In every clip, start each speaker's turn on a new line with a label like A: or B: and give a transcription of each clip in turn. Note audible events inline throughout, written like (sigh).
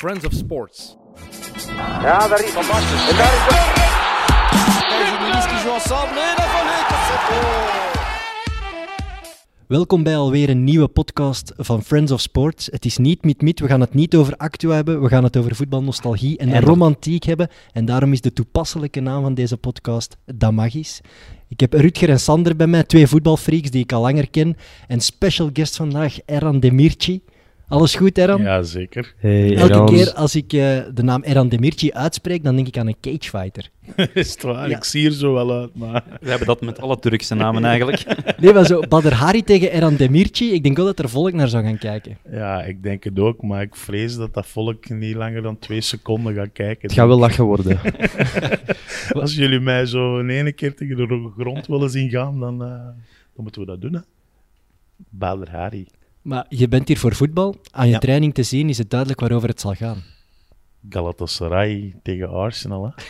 A: Friends of Sports.
B: Ja, daar is Van Basten. En daar is de...
C: Welkom bij alweer een nieuwe podcast van Friends of Sports. Het is niet met miet, we gaan het niet over actua hebben, we gaan het over voetbalnostalgie en, romantiek hebben. En daarom is de toepasselijke naam van deze podcast Damagis. Ik heb Rutger en Sander bij mij, twee voetbalfreaks die ik al langer ken. En special guest vandaag, Erhan Demirci. Alles goed, Erhan?
D: Ja, zeker.
E: Hey,
C: Elke
E: Erans.
C: keer als ik eh, de naam Erhan Demirci uitspreek, dan denk ik aan een cagefighter.
D: (laughs) Is het waar?
C: Ja.
D: Ik zie er zo wel uit, (laughs) maar...
E: We hebben dat met alle Turkse namen eigenlijk.
C: Nee, maar zo Badr Hari tegen Erhan Demirci, ik denk wel dat er volk naar zou gaan kijken.
D: Ja, ik denk het ook, maar ik vrees dat dat volk niet langer dan twee seconden gaat kijken.
E: Het gaat wel lachen worden.
D: (laughs) Als jullie mij zo in ene keer tegen de grond willen zien gaan, dan, eh, dan moeten we dat doen, hè. Bader Hari.
C: Maar je bent hier voor voetbal. Aan je
D: Ja.
C: training te zien is het duidelijk waarover het zal gaan.
D: Galatasaray tegen Arsenal, hè.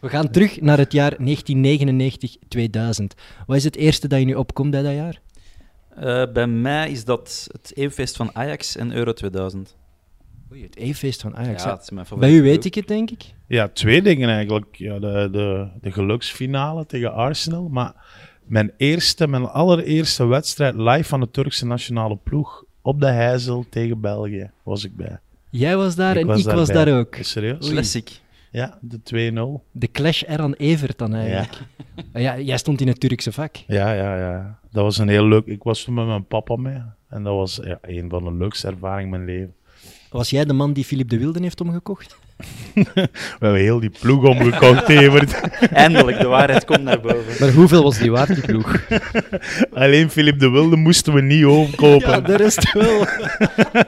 C: We gaan terug naar het jaar 1999-2000. Wat is het eerste dat je nu opkomt bij dat jaar?
F: Eh, bij mij is dat het eeuwfeest van Ajax en Euro 2000.
C: Oei, het E-feest van Ajax.
F: ja,
C: hè.
F: dat is mijn
C: bij
F: favoriete
C: u weet
F: ploeg.
C: ik het, denk ik.
D: Ja, twee dingen eigenlijk. Ja, de, de, de geluksfinale tegen Arsenal, maar mijn eerste, mijn allereerste wedstrijd live van de Turkse nationale ploeg op de Heizel tegen België was ik bij.
C: Jij was daar Ah, en ik was
D: daarbij.
C: daar ook.
D: Serieus?
F: Classic.
D: Ja, de 2-0.
C: De clash Erhan Evert dan eigenlijk. Ja. jij stond in het Turkse vak.
D: Ja, ja, ja. Dat was een heel leuk... Ik was toen met mijn papa mee. En dat was ja, een van de leukste ervaringen in mijn leven. (laughs)
C: Was jij de man die Philip de Wilden heeft omgekocht?
D: We hebben heel die ploeg
C: (laughs)
D: omgekocht, Evert.
F: Eindelijk, de waarheid komt naar boven.
E: Maar hoeveel was die waard, (laughs) die ploeg?
D: Alleen Philip de Wilde moesten we niet omkopen.
C: Ja, de rest wel.
D: (laughs)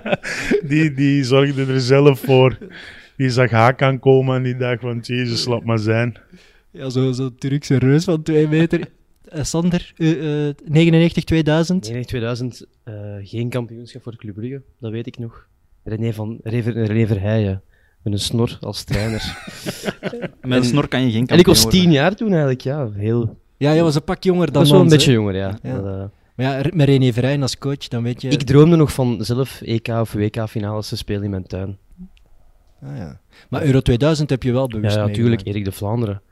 D: die, die zorgde er zelf voor. Die zag haak aankomen en die dacht van, jezus, laat maar zijn.
C: Ja, zo- zo'n Turkse reus van twee meter. Eh, Sander, eh, eh, 99-2000.
E: In 2000 eh, geen kampioenschap voor Club Brugge, dat weet ik nog. René van Rever, René Verheijen, met een snor als trainer.
F: Met een snor kan je geen
E: (laughs) en ik
F: kampioen
E: was tien
F: worden.
E: jaar toen eigenlijk, ja. Heel, dat
C: Ja, jij was een pak jonger dan
E: was wel een
C: ons,
E: beetje
C: hè.
E: jonger, ja.
C: Ja.
E: Maar, eh,
C: Maar ja, met René Verijn als coach, dan weet je...
E: Ik droomde nog van zelf EK of WK-finales te spelen in mijn tuin.
C: Ah, ja. Maar Euro 2000 heb je wel
E: Ja,
C: bewust
E: ja natuurlijk,
C: meegemaakt.
E: Erik de Vlaanderen.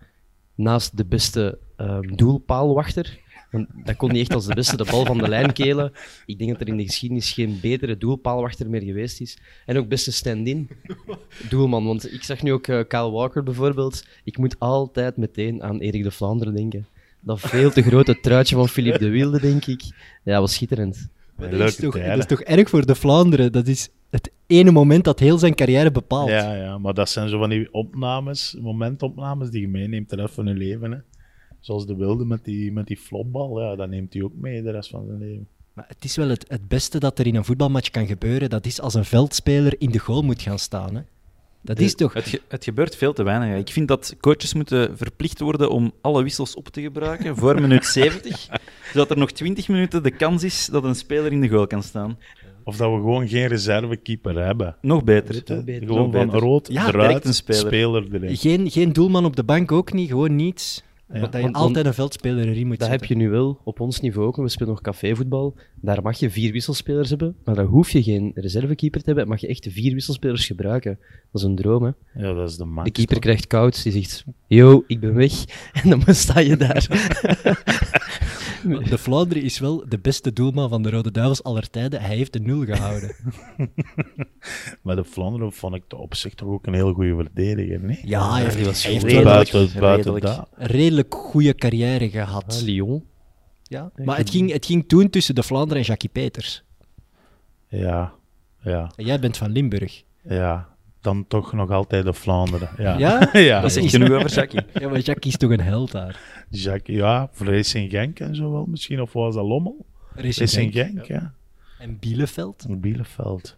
E: Naast de beste ehm, doelpaalwachter. Want dat kon niet echt als de beste de bal van de lijn kelen. Ik denk dat er in de geschiedenis geen betere doelpaalwachter meer geweest is. En ook beste stand-in doelman. Want ik zag nu ook eh, Kyle Walker bijvoorbeeld. Ik moet altijd meteen aan Erik de Vlaanderen denken. Dat veel te grote truitje van Philippe de Wilde, denk ik. Ja, was schitterend.
C: Maar
D: Een
C: dat, is
D: leuke
C: toch, dat
D: tijden.
C: is toch erg voor de Vlaanderen? Dat is het ene moment dat heel zijn carrière bepaalt.
D: Ja, ja, maar dat zijn zo van die opnames, momentopnames die je meeneemt de rest van je leven. Hè. Zoals de wilde met die, met die flopbal, ja, dat neemt hij ook mee de rest van zijn leven.
C: Maar het is wel het, het beste dat er in een voetbalmatch kan gebeuren. Dat is als een veldspeler in de goal moet gaan staan. Hè? Dat is toch...
F: Het, ge- het gebeurt veel te weinig. hè. Ik vind dat coaches moeten verplicht worden om alle wissels op te gebruiken voor
E: (laughs)
F: minuut 70, zodat er nog 20 minuten de kans is dat een speler in de goal kan staan.
D: Of dat we gewoon geen reservekeeper hebben.
F: Nog beter.
D: Hè?
E: beter.
D: Gewoon
F: Nog
D: van
F: beter.
D: rood,
C: Ja,
D: eruit,
F: direct een
D: speler.
F: speler.
D: erin.
C: Geen, geen doelman op de bank ook niet, gewoon niets.
D: Ja.
C: Want dat je
E: Want-
C: altijd een veldspeler erin moet
E: Dat heb
C: zetten.
E: je nu wel op ons niveau ook. want We spelen nog cafévoetbal. Daar mag je vier wisselspelers hebben, maar daar hoef je geen reservekeeper te hebben. Mag je echt vier wisselspelers gebruiken. Dat is een droom, hè.
D: Ja, dat is de max.
E: De keeper krijgt koud, die zegt, yo, ik ben weg. (laughs) En dan sta je daar.
C: De Vlaanderen is wel de beste doelman van de Rode Duivels aller tijden. Hij heeft de nul
E: (laughs)
C: gehouden.
D: Maar de Vlaanderen vond ik op zich toch ook een heel goede verdediger, nee?
C: Ja, hij heeft,
E: die was
C: hij heeft
E: goed.
C: wel
D: buiten, buiten
F: redelijk.
D: dat.
C: een redelijk goede carrière gehad.
E: Ah, Lyon.
C: Ja, maar het ging, het ging toen tussen de Vlaanderen en Jackie Peters.
D: Ja, ja,
C: En jij bent van Limburg.
D: ja. Dan toch nog altijd de Vlaanderen. Ja?
C: Ja?
D: (laughs) ja.
F: Dat zegt genoeg over Jackie.
C: Ja, maar Jackie is toch een held daar.
D: Jacques, ja, voor Racing Genk en zo wel misschien. Of was dat Lommel? Racing Genk, ja.
C: En Bielefeld.
D: Bielefeld.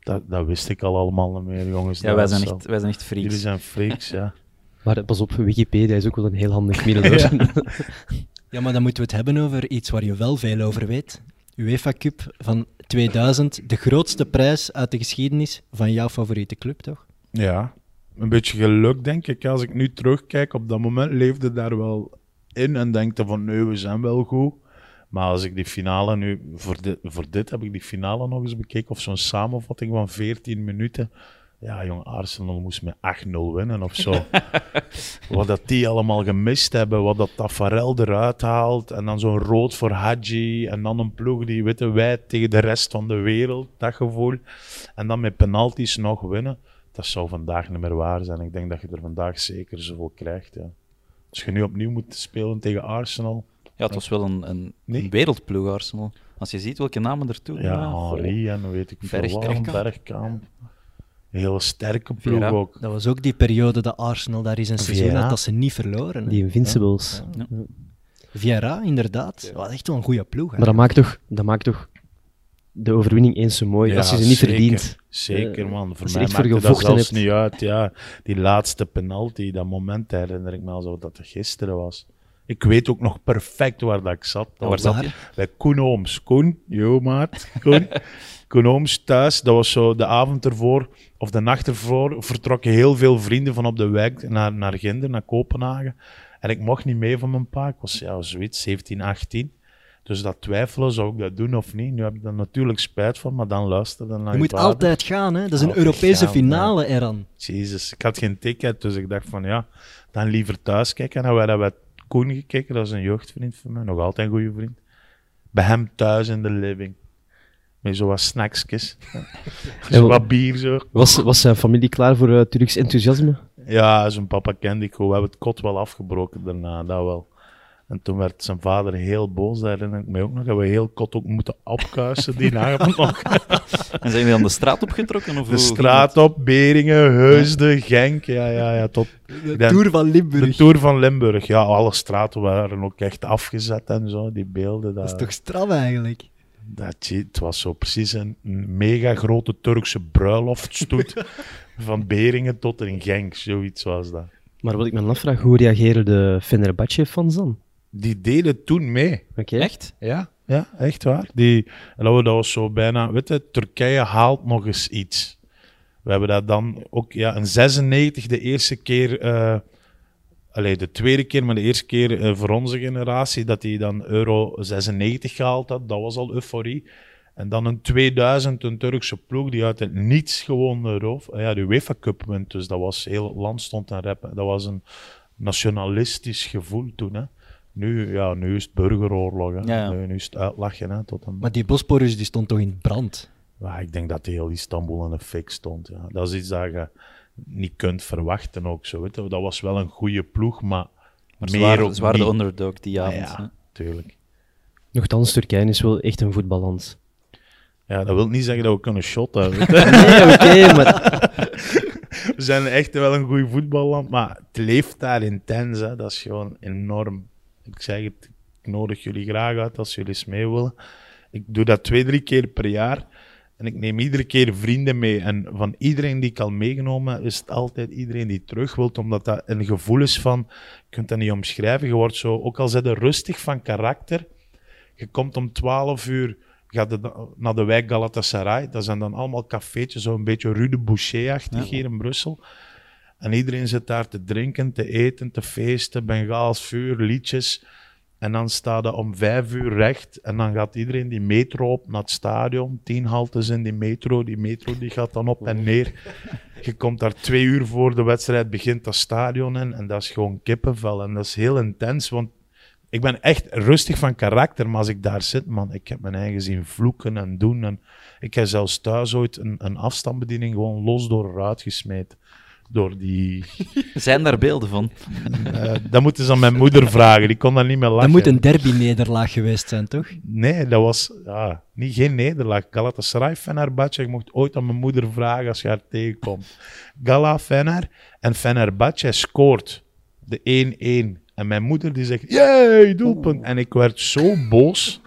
D: Dat, dat wist ik al allemaal niet meer, jongens.
F: Ja,
D: Dat
F: wij
D: is
F: zijn
D: zo.
F: echt, wij zijn echt
D: Jullie
F: freaks.
D: zijn freaks, ja.
E: Maar pas op, Wikipedia is ook wel een heel handig middel. (laughs) hoor.
C: Ja, maar dan moeten we het hebben over iets waar je wel veel over weet. UEFA Cup van 2000. De grootste prijs uit de geschiedenis van jouw favoriete club, toch?
D: Ja, een beetje geluk, denk ik. Als ik nu terugkijk, op dat moment leefde daar wel in en denkte van, nee, we zijn wel goed. Maar als ik die finale nu, voor dit, voor dit heb ik die finale nog eens bekeken, of zo'n samenvatting van 14 minuten, Ja, jong, Arsenal moest met 8-0 winnen of zo. wat dat die allemaal gemist hebben, wat dat Tafarel eruit haalt. En dan zo'n rood voor Hadji. En dan een ploeg die witte wijd tegen de rest van de wereld, dat gevoel. En dan met penalties nog winnen. Dat zou vandaag niet meer waar zijn. Ik denk dat je er vandaag zeker zoveel krijgt. Ja. Als je nu opnieuw moet spelen tegen Arsenal.
F: Ja, het was wel een, een,
D: Nee.
F: een wereldploeg, Arsenal. Als je ziet welke namen er toen
D: Ja, oh,
F: goh.
D: Henri en weet ik veel wat.
F: Bergkamp.
D: Bergkamp. Een hele sterke ploeg
F: Vera.
D: ook.
C: Dat was ook die periode dat Arsenal daar is een seizoen
D: Vieira.
C: had dat ze niet verloren. hè.
E: Die Invincibles.
C: Vieira, inderdaad. Dat was echt wel een goede ploeg. hè.
E: Maar dat maakt, toch, dat maakt toch de overwinning eens zo mooi,
D: Ja,
E: als je ze niet
D: zeker.
E: verdient.
D: Zeker,
E: Eh,
D: man. Voor
E: als je
D: mij
E: echt voor
D: maakt dat
E: gevochten
D: zelfs
E: hebt.
D: niet uit. Ja. Die laatste penalty, dat moment herinner ik me alsof dat het gisteren was. Ik weet ook nog perfect waar dat ik zat. Dat
F: Waar
D: was
F: zat
D: dat
F: je?
D: Bij Koen Ooms. Koen, yo maat. Koen. Koen Ooms thuis, dat was zo de avond ervoor, of de nacht ervoor, vertrokken heel veel vrienden van op de wijk naar, naar Ginder, naar Kopenhagen. En ik mocht niet mee van mijn pa. Ik was ja, zoiets, 17, 18. Dus dat twijfelen, zou ik dat doen of niet? Nu heb ik daar natuurlijk spijt van, maar dan luisterde naar
C: Je moet
D: vader.
C: altijd gaan, hè? Dat is een
D: Altijd
C: Europese
D: gaan,
C: finale, Eran.
D: Jezus, ik had geen ticket, dus ik dacht van ja, dan liever thuis kijken. En dan werden we Koen gekeken, dat is een jeugdvriend van mij, nog altijd een goede vriend. Bij hem thuis in de living. Met zo wat (laughs) snacksjes. zo
E: wel-
D: wat bier zo.
E: Was, was zijn familie klaar voor eh, Turks enthousiasme?
D: Ja, zijn papa kende ik goed. We hebben het kot wel afgebroken daarna, dat wel. En toen werd zijn vader heel boos, daar herinner ik me ook nog. Hebben we heel kot ook moeten opkuisen (laughs) die avond nog.
F: En zijn die dan de straat opgetrokken? Of
D: De straat op, Beringen, Heusden, Genk. Ja, ja, ja, tot...
C: De
D: Ik denk-
C: Tour van Limburg.
D: De Tour van Limburg, ja, alle straten waren ook echt afgezet en zo, die beelden.
C: Dat
D: Dat,
C: is toch straf eigenlijk?
D: dat, je- het was zo precies een mega grote Turkse (laughs) bruiloftstoet van Beringen tot in Genk, zoiets was dat.
E: Maar wat ik me dan afvraag, hoe reageren de Fenerbahce-fans dan?
D: Die deden toen mee.
E: Oké.
F: Echt?
D: Ja? Ja, echt waar. Die, en dat we- dat was zo bijna, weet je, Turkije haalt nog eens iets. We hebben dat dan ook, ja, in 96 de eerste keer, eh allee, de tweede keer, maar de eerste keer eh, voor onze generatie, dat hij dan euro 96 gehaald had, dat was al euforie. En dan in 2000 een Turkse ploeg die uit het niets gewoon de, roof, eh, ja, de UEFA Cup wint. Dus dat was heel het land stond aan rappen. Dat was een nationalistisch gevoel toen. Hè. Nu, ja, nu is het burgeroorlog. Hè.
F: Ja, ja.
D: Nu, nu is het uitlachen. Hè, tot een...
C: Maar die Bosporus die stond toch in brand?
D: Ja, ik denk dat heel Istanbul in een fik stond. Ja. Dat is iets dat je niet kunt verwachten ook. Zo, weet je. Dat was wel een goede ploeg, maar,
F: Maar
D: meer
F: zwaar,
D: ook
F: zwaar de
D: niet.
F: underdog die avond.
D: Ah, Ja,
F: hè.
D: tuurlijk.
E: Nochtans, Turkije is wel echt een voetballand. (laughs)
D: Ja, dat wil niet zeggen dat we kunnen shotten. weet je.
E: Nee, oké, maar...
D: We zijn echt wel een goede voetballand, maar het leeft daar intens. Hè. Dat is gewoon enorm. Ik zeg het, ik nodig jullie graag uit als jullie eens mee willen. Ik doe dat twee, drie keer per jaar. En ik neem iedere keer vrienden mee. En van iedereen die ik al meegenomen heb, is het altijd iedereen die terug wilt. Omdat dat een gevoel is van, je kunt dat niet omschrijven. Je wordt zo, ook al zit je rustig van karakter, je komt om 12 uur gaat de- naar de wijk Galatasaray. Dat zijn dan allemaal cafeetjes, zo'n beetje Rue de Boucher-achtig hier in Brussel. En iedereen zit daar te drinken, te eten, te feesten, Bengaals vuur, liedjes. En dan staat er om vijf uur recht. En dan gaat iedereen die metro op naar het stadion. Tien haltes in die metro. Die metro die gaat dan op en neer. Je komt daar twee uur voor de wedstrijd begint dat stadion in. En dat is gewoon kippenvel. En dat is heel intens. Want ik ben echt rustig van karakter, maar als ik daar zit, man, ik heb mijn eigen zien vloeken en doen. En ik heb zelfs thuis ooit een, een afstandsbediening gewoon los door eruit gesmeten. Door die...
F: Zijn daar beelden
D: (laughs)
F: van?
D: eh, dat moeten ze aan mijn moeder vragen, die kon daar niet meer lachen.
C: Dat moet een derby-nederlaag geweest zijn, toch?
D: Nee, dat was ja, niet, geen nederlaag. Galatasaray, Fenerbahce. Je mocht ooit aan mijn moeder vragen als je haar tegenkomt. Gala, Fener en Fenerbahce scoort de 1-1. En mijn moeder die zegt, jee, doelpunt. En ik werd zo boos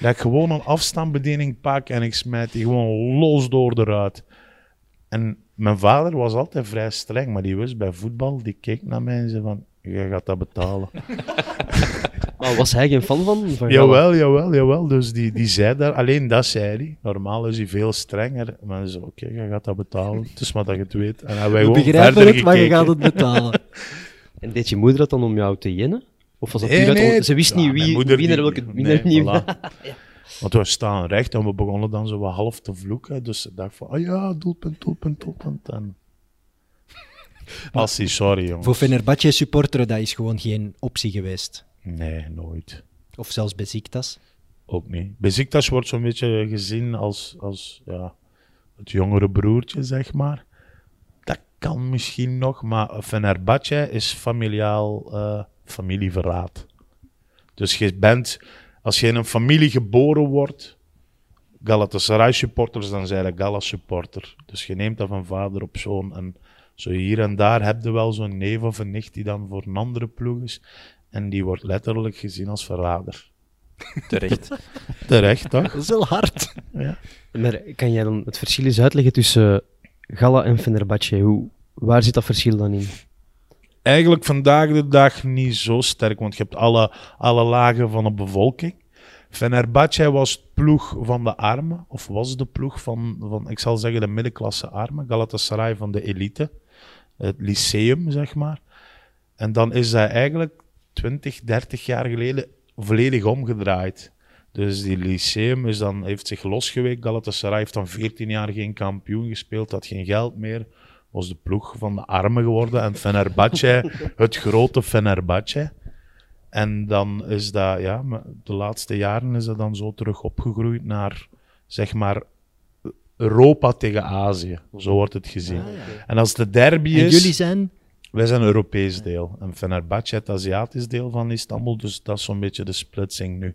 D: dat ik gewoon een afstandsbediening pak en ik smijt die gewoon los door eruit. En mijn vader was altijd vrij streng, maar die wist bij voetbal, die keek naar mij en zei van, je gaat dat betalen.
E: Maar oh, was hij geen fan van? van
D: Jawel, jawel, jawel. Dus die, die zei daar, alleen dat zei hij. Normaal is hij veel strenger. Maar hij zei, oké, je gaat dat betalen. Het is maar dat je het weet. En hebben wij
C: We
D: gewoon
C: begrijpen
D: verder
C: het, maar je
D: gekeken.
C: gaat het
D: (laughs)
C: betalen.
E: En deed je moeder dat dan om jou te jennen? Of was dat
D: Nee,
E: puur uit-
D: nee.
E: Ze wist
D: Ja,
E: niet
D: mijn
E: wie
D: moeder
E: winnaar
D: die-
E: welke (laughs)
D: nee,
E: winnaar niet
D: voilà. Want we staan recht en we begonnen dan zo wat half te vloeken. Dus ik dacht van, ah ja, doelpunt, doelpunt, doelpunt. En... Assi, sorry jongens.
C: Voor Fenerbahce supporteren, dat is gewoon geen optie geweest.
D: Nee, nooit.
C: Of zelfs bij Ziektas.
D: Ook niet. Beziktas wordt zo'n beetje gezien als, als ja, het jongere broertje, zeg maar. Dat kan misschien nog, maar Fenerbahce is familiaal eh, familieverraad. Dus je bent, als je in een familie geboren wordt, Galatasaray-supporters, dan zijn je Gala-supporter. Dus je neemt dat van vader op zoon. En zo hier en daar heb je wel zo'n neef of een nicht die dan voor een andere ploeg is. En die wordt letterlijk gezien als verrader.
F: Terecht.
D: Terecht, toch?
C: Dat is wel hard.
D: Ja.
E: Maar kan jij dan het verschil eens uitleggen tussen eh, Gala en Fenerbahce? Hoe, waar zit dat verschil dan in?
D: eigenlijk vandaag de dag niet zo sterk, want je hebt alle, alle lagen van de bevolking. Fenerbahce was het ploeg van de armen, of was de ploeg van, van ik zal zeggen, de middenklasse armen. Galatasaray van de elite, het lyceum, zeg maar. En dan is dat eigenlijk 20, 30 jaar geleden volledig omgedraaid. Dus die lyceum is dan, heeft zich losgeweekt. Galatasaray heeft dan 14 jaar geen kampioen gespeeld, had geen geld meer was de ploeg van de armen geworden. En Fenerbahce, het grote Fenerbahce. En dan is dat, ja, maar de laatste jaren is dat dan zo terug opgegroeid naar, zeg maar, Europa tegen Azië. Zo wordt het gezien. En als de derby
C: En
D: is...
C: jullie zijn...
D: Wij zijn een Europees deel. En Fenerbahce het Aziatisch deel van Istanbul. Dus dat is zo'n beetje de splitsing nu.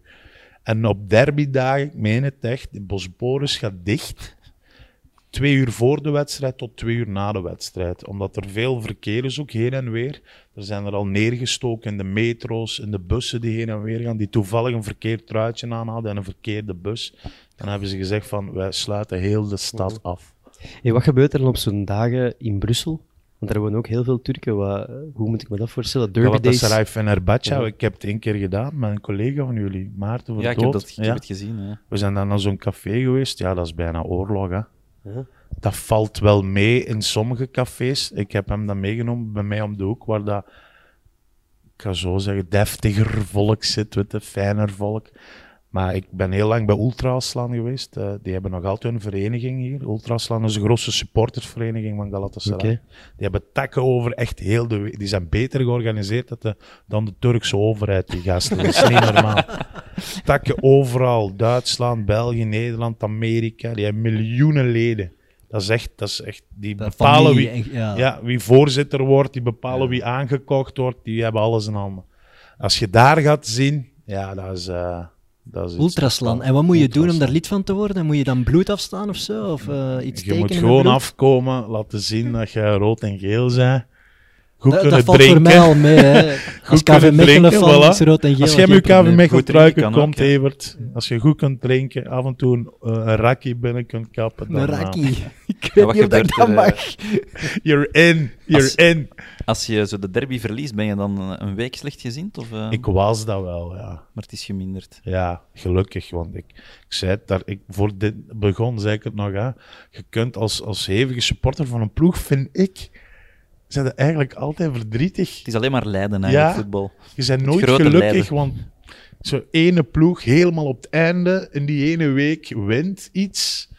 D: En op derbydagen, ik meen het echt, de Bosporus gaat dicht. Twee uur voor de wedstrijd tot twee uur na de wedstrijd. Omdat er veel verkeer is, ook heen en weer. Er zijn er al neergestoken in de metro's, in de bussen die heen en weer gaan. Die toevallig een verkeerd truitje aan hadden en een verkeerde bus. Dan hebben ze gezegd van, wij sluiten heel de stad af.
E: Hey, wat gebeurt er dan op zo'n dagen in Brussel? Want daar wonen ook heel veel Turken. Wat, hoe moet ik me dat voorstellen? Derby days.
D: Galatasaray Fenerbahce,
E: Ja.
D: ik heb het één keer gedaan met een collega van jullie, Maarten van
F: Ja, ik heb,
D: Dood.
F: dat, ik
D: Ja.
F: heb het gezien. Ja.
D: We zijn dan naar zo'n café geweest, ja, dat is bijna oorlog, hè.
E: Ja.
D: Dat valt wel mee in sommige cafés. Ik heb hem dan meegenomen bij mij om de hoek, waar dat, ik ga zo zeggen, deftiger volk zit, weet je, fijner volk. Maar ik ben heel lang bij Ultraslaan geweest. Eh, die hebben nog altijd hun vereniging hier. Ultraslaan is een grote supportersvereniging van Galatasaray.
E: Oké.
D: Die hebben takken over echt heel de... we- Die zijn beter georganiseerd dat de- dan de Turkse overheid, die gasten. Dat is niet
C: (laughs)
D: normaal. Takken overal. Duitsland, België, Nederland, Amerika. Die hebben miljoenen leden. Dat is echt... Dat is echt die
C: Dat
D: bepalen
C: familie
D: wie,
C: en- ja.
D: ja, wie voorzitter wordt, die bepalen wie aangekocht wordt. Die hebben alles in handen. Als je daar gaat zien... Ja, dat is... eh, dat is iets
C: Ultraslan. En wat moet je doen om daar lid van te worden? Moet je dan bloed afstaan of zo? Of eh, iets
D: Je moet
C: tekenen?
D: gewoon
C: bloed?
D: afkomen, laten zien dat je rood en geel bent. Goed
C: Dat,
D: kunnen
C: dat valt
D: drinken.
C: voor mij al mee.
D: (laughs)
C: Hè. Als KV
D: kunnen
C: Mechelen
D: drinken,
C: van
D: voilà.
C: is rood en geel.
D: Als jij
C: geen
D: met
C: probleem.
D: KV Mechel
F: Goed drinken
D: truiken
F: kan
D: komt,
F: ook, ja.
D: Evert, als je goed kunt drinken, af en toe een, eh, een rakkie binnen kunt kappen, dan...
C: Een
D: eh,
C: rakkie. Ik
F: Ja,
C: weet (laughs)
F: wat
C: niet of dat ik
F: gebeurt
C: dat
F: er, eh?
C: mag.
D: You're in, you're
F: Als-
D: in.
F: Als je zo de derby verliest, ben je dan eh, een week slecht gezind? Of, eh,
D: Ik was dat wel, ja.
F: Maar het is geminderd.
D: Ja, gelukkig, want ik, ik zei het daar, ik, voor dit begon, zei ik het nog, hè. je kunt als, als hevige supporter van een ploeg, vind ik, zijn dat eigenlijk altijd verdrietig.
F: Het is alleen maar lijden eigenlijk,
D: Ja.
F: voetbal.
D: Je bent nooit
F: grote
D: gelukkig,
F: lijden.
D: want zo'n ene ploeg helemaal op het einde in die ene week wint iets.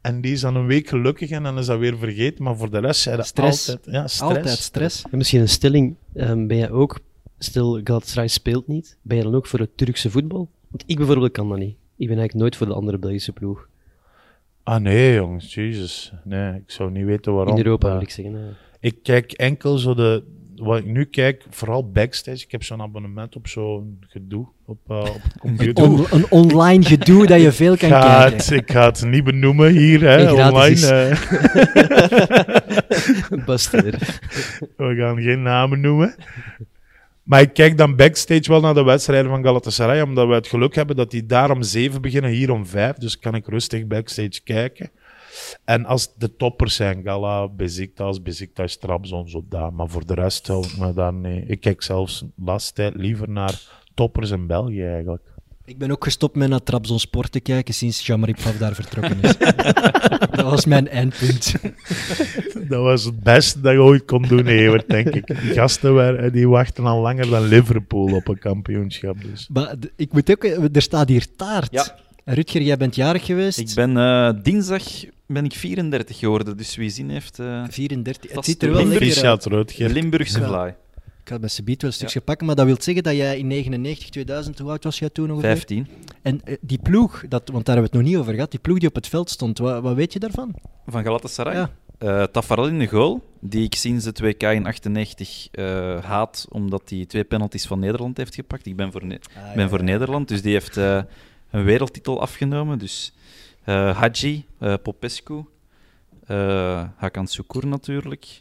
D: En die is dan een week gelukkig en dan is dat weer vergeten. Maar voor de rest zijn dat
C: Stress.
D: altijd... Ja, stress.
C: Altijd stress.
E: En misschien een stelling. ehm, ben jij ook, stel Galatasaray speelt niet, ben je dan ook voor het Turkse voetbal? Want ik bijvoorbeeld kan dat niet. Ik ben eigenlijk nooit voor de andere Belgische ploeg.
D: Ah nee, jongens, jezus. Nee, ik zou niet weten waarom.
E: In Europa
D: Eh,
E: wil ik zeggen. hè.
D: Ik kijk enkel zo de... Wat ik nu kijk, vooral backstage. Ik heb zo'n abonnement op zo'n gedoe op, eh, op
E: (laughs)
D: de computer.
C: On- een online gedoe dat je veel
D: Ik
C: kan
D: ga,
C: kijken.
D: het, ik ga het niet benoemen hier, hè,
E: En gratis
D: online.
E: is.
D: eh.
E: (laughs) Best weer.
D: We gaan geen namen noemen. (laughs) Maar ik kijk dan backstage wel naar de wedstrijden van Galatasaray, omdat we het geluk hebben dat die daar om zeven beginnen, hier om vijf. Dus kan ik rustig backstage kijken. En als de toppers zijn, Gala, Beziktas, Beziktas, Trabzon, zo daar. Maar voor de rest hou ik me daar niet. Ik kijk zelfs de laatste tijd liever naar toppers in België eigenlijk.
C: Ik ben ook gestopt met naar Trabzon Sport te kijken sinds Jean-Marie Pfaff daar vertrokken is. dat was mijn eindpunt.
D: Dat was het beste dat je ooit kon doen, Evert, denk ik. Die gasten waren- die wachten al langer dan Liverpool op een kampioenschap. Dus.
C: Maar d- ik moet ook... eh, Er staat hier taart.
F: Ja.
C: Rutger, jij bent jarig geweest.
F: Ik ben eh, dinsdag ben ik 34 geworden, dus wie zin heeft, eh
C: 34. Het
F: Vast
C: ziet er
F: de
C: wel
F: Limburg-
C: lekker uit.
D: Richard Roodgeer.
F: Limburgse
C: Ja.
F: vlaai.
C: Ik ga met Sebiet wel een stukje pakken, maar dat wil zeggen dat jij in 99, 2000, hoe oud was jij toen ongeveer?
F: 15.
C: En eh, die ploeg, dat, want daar hebben we het nog niet over gehad, die ploeg die op het veld stond, wa- wat, weet je daarvan?
F: Van Galatasaray.
C: Ja.
F: Eh, Tafarel in de goal, die ik sinds het WK in 98 eh, haat, omdat hij twee penalties van Nederland heeft gepakt. Ik ben voor,
C: Ah,
F: Ne- ik ben voor Nederland, dus die heeft eh, een wereldtitel afgenomen. Dus eh Hadji, eh, Popescu, eh Hakan Sukur natuurlijk.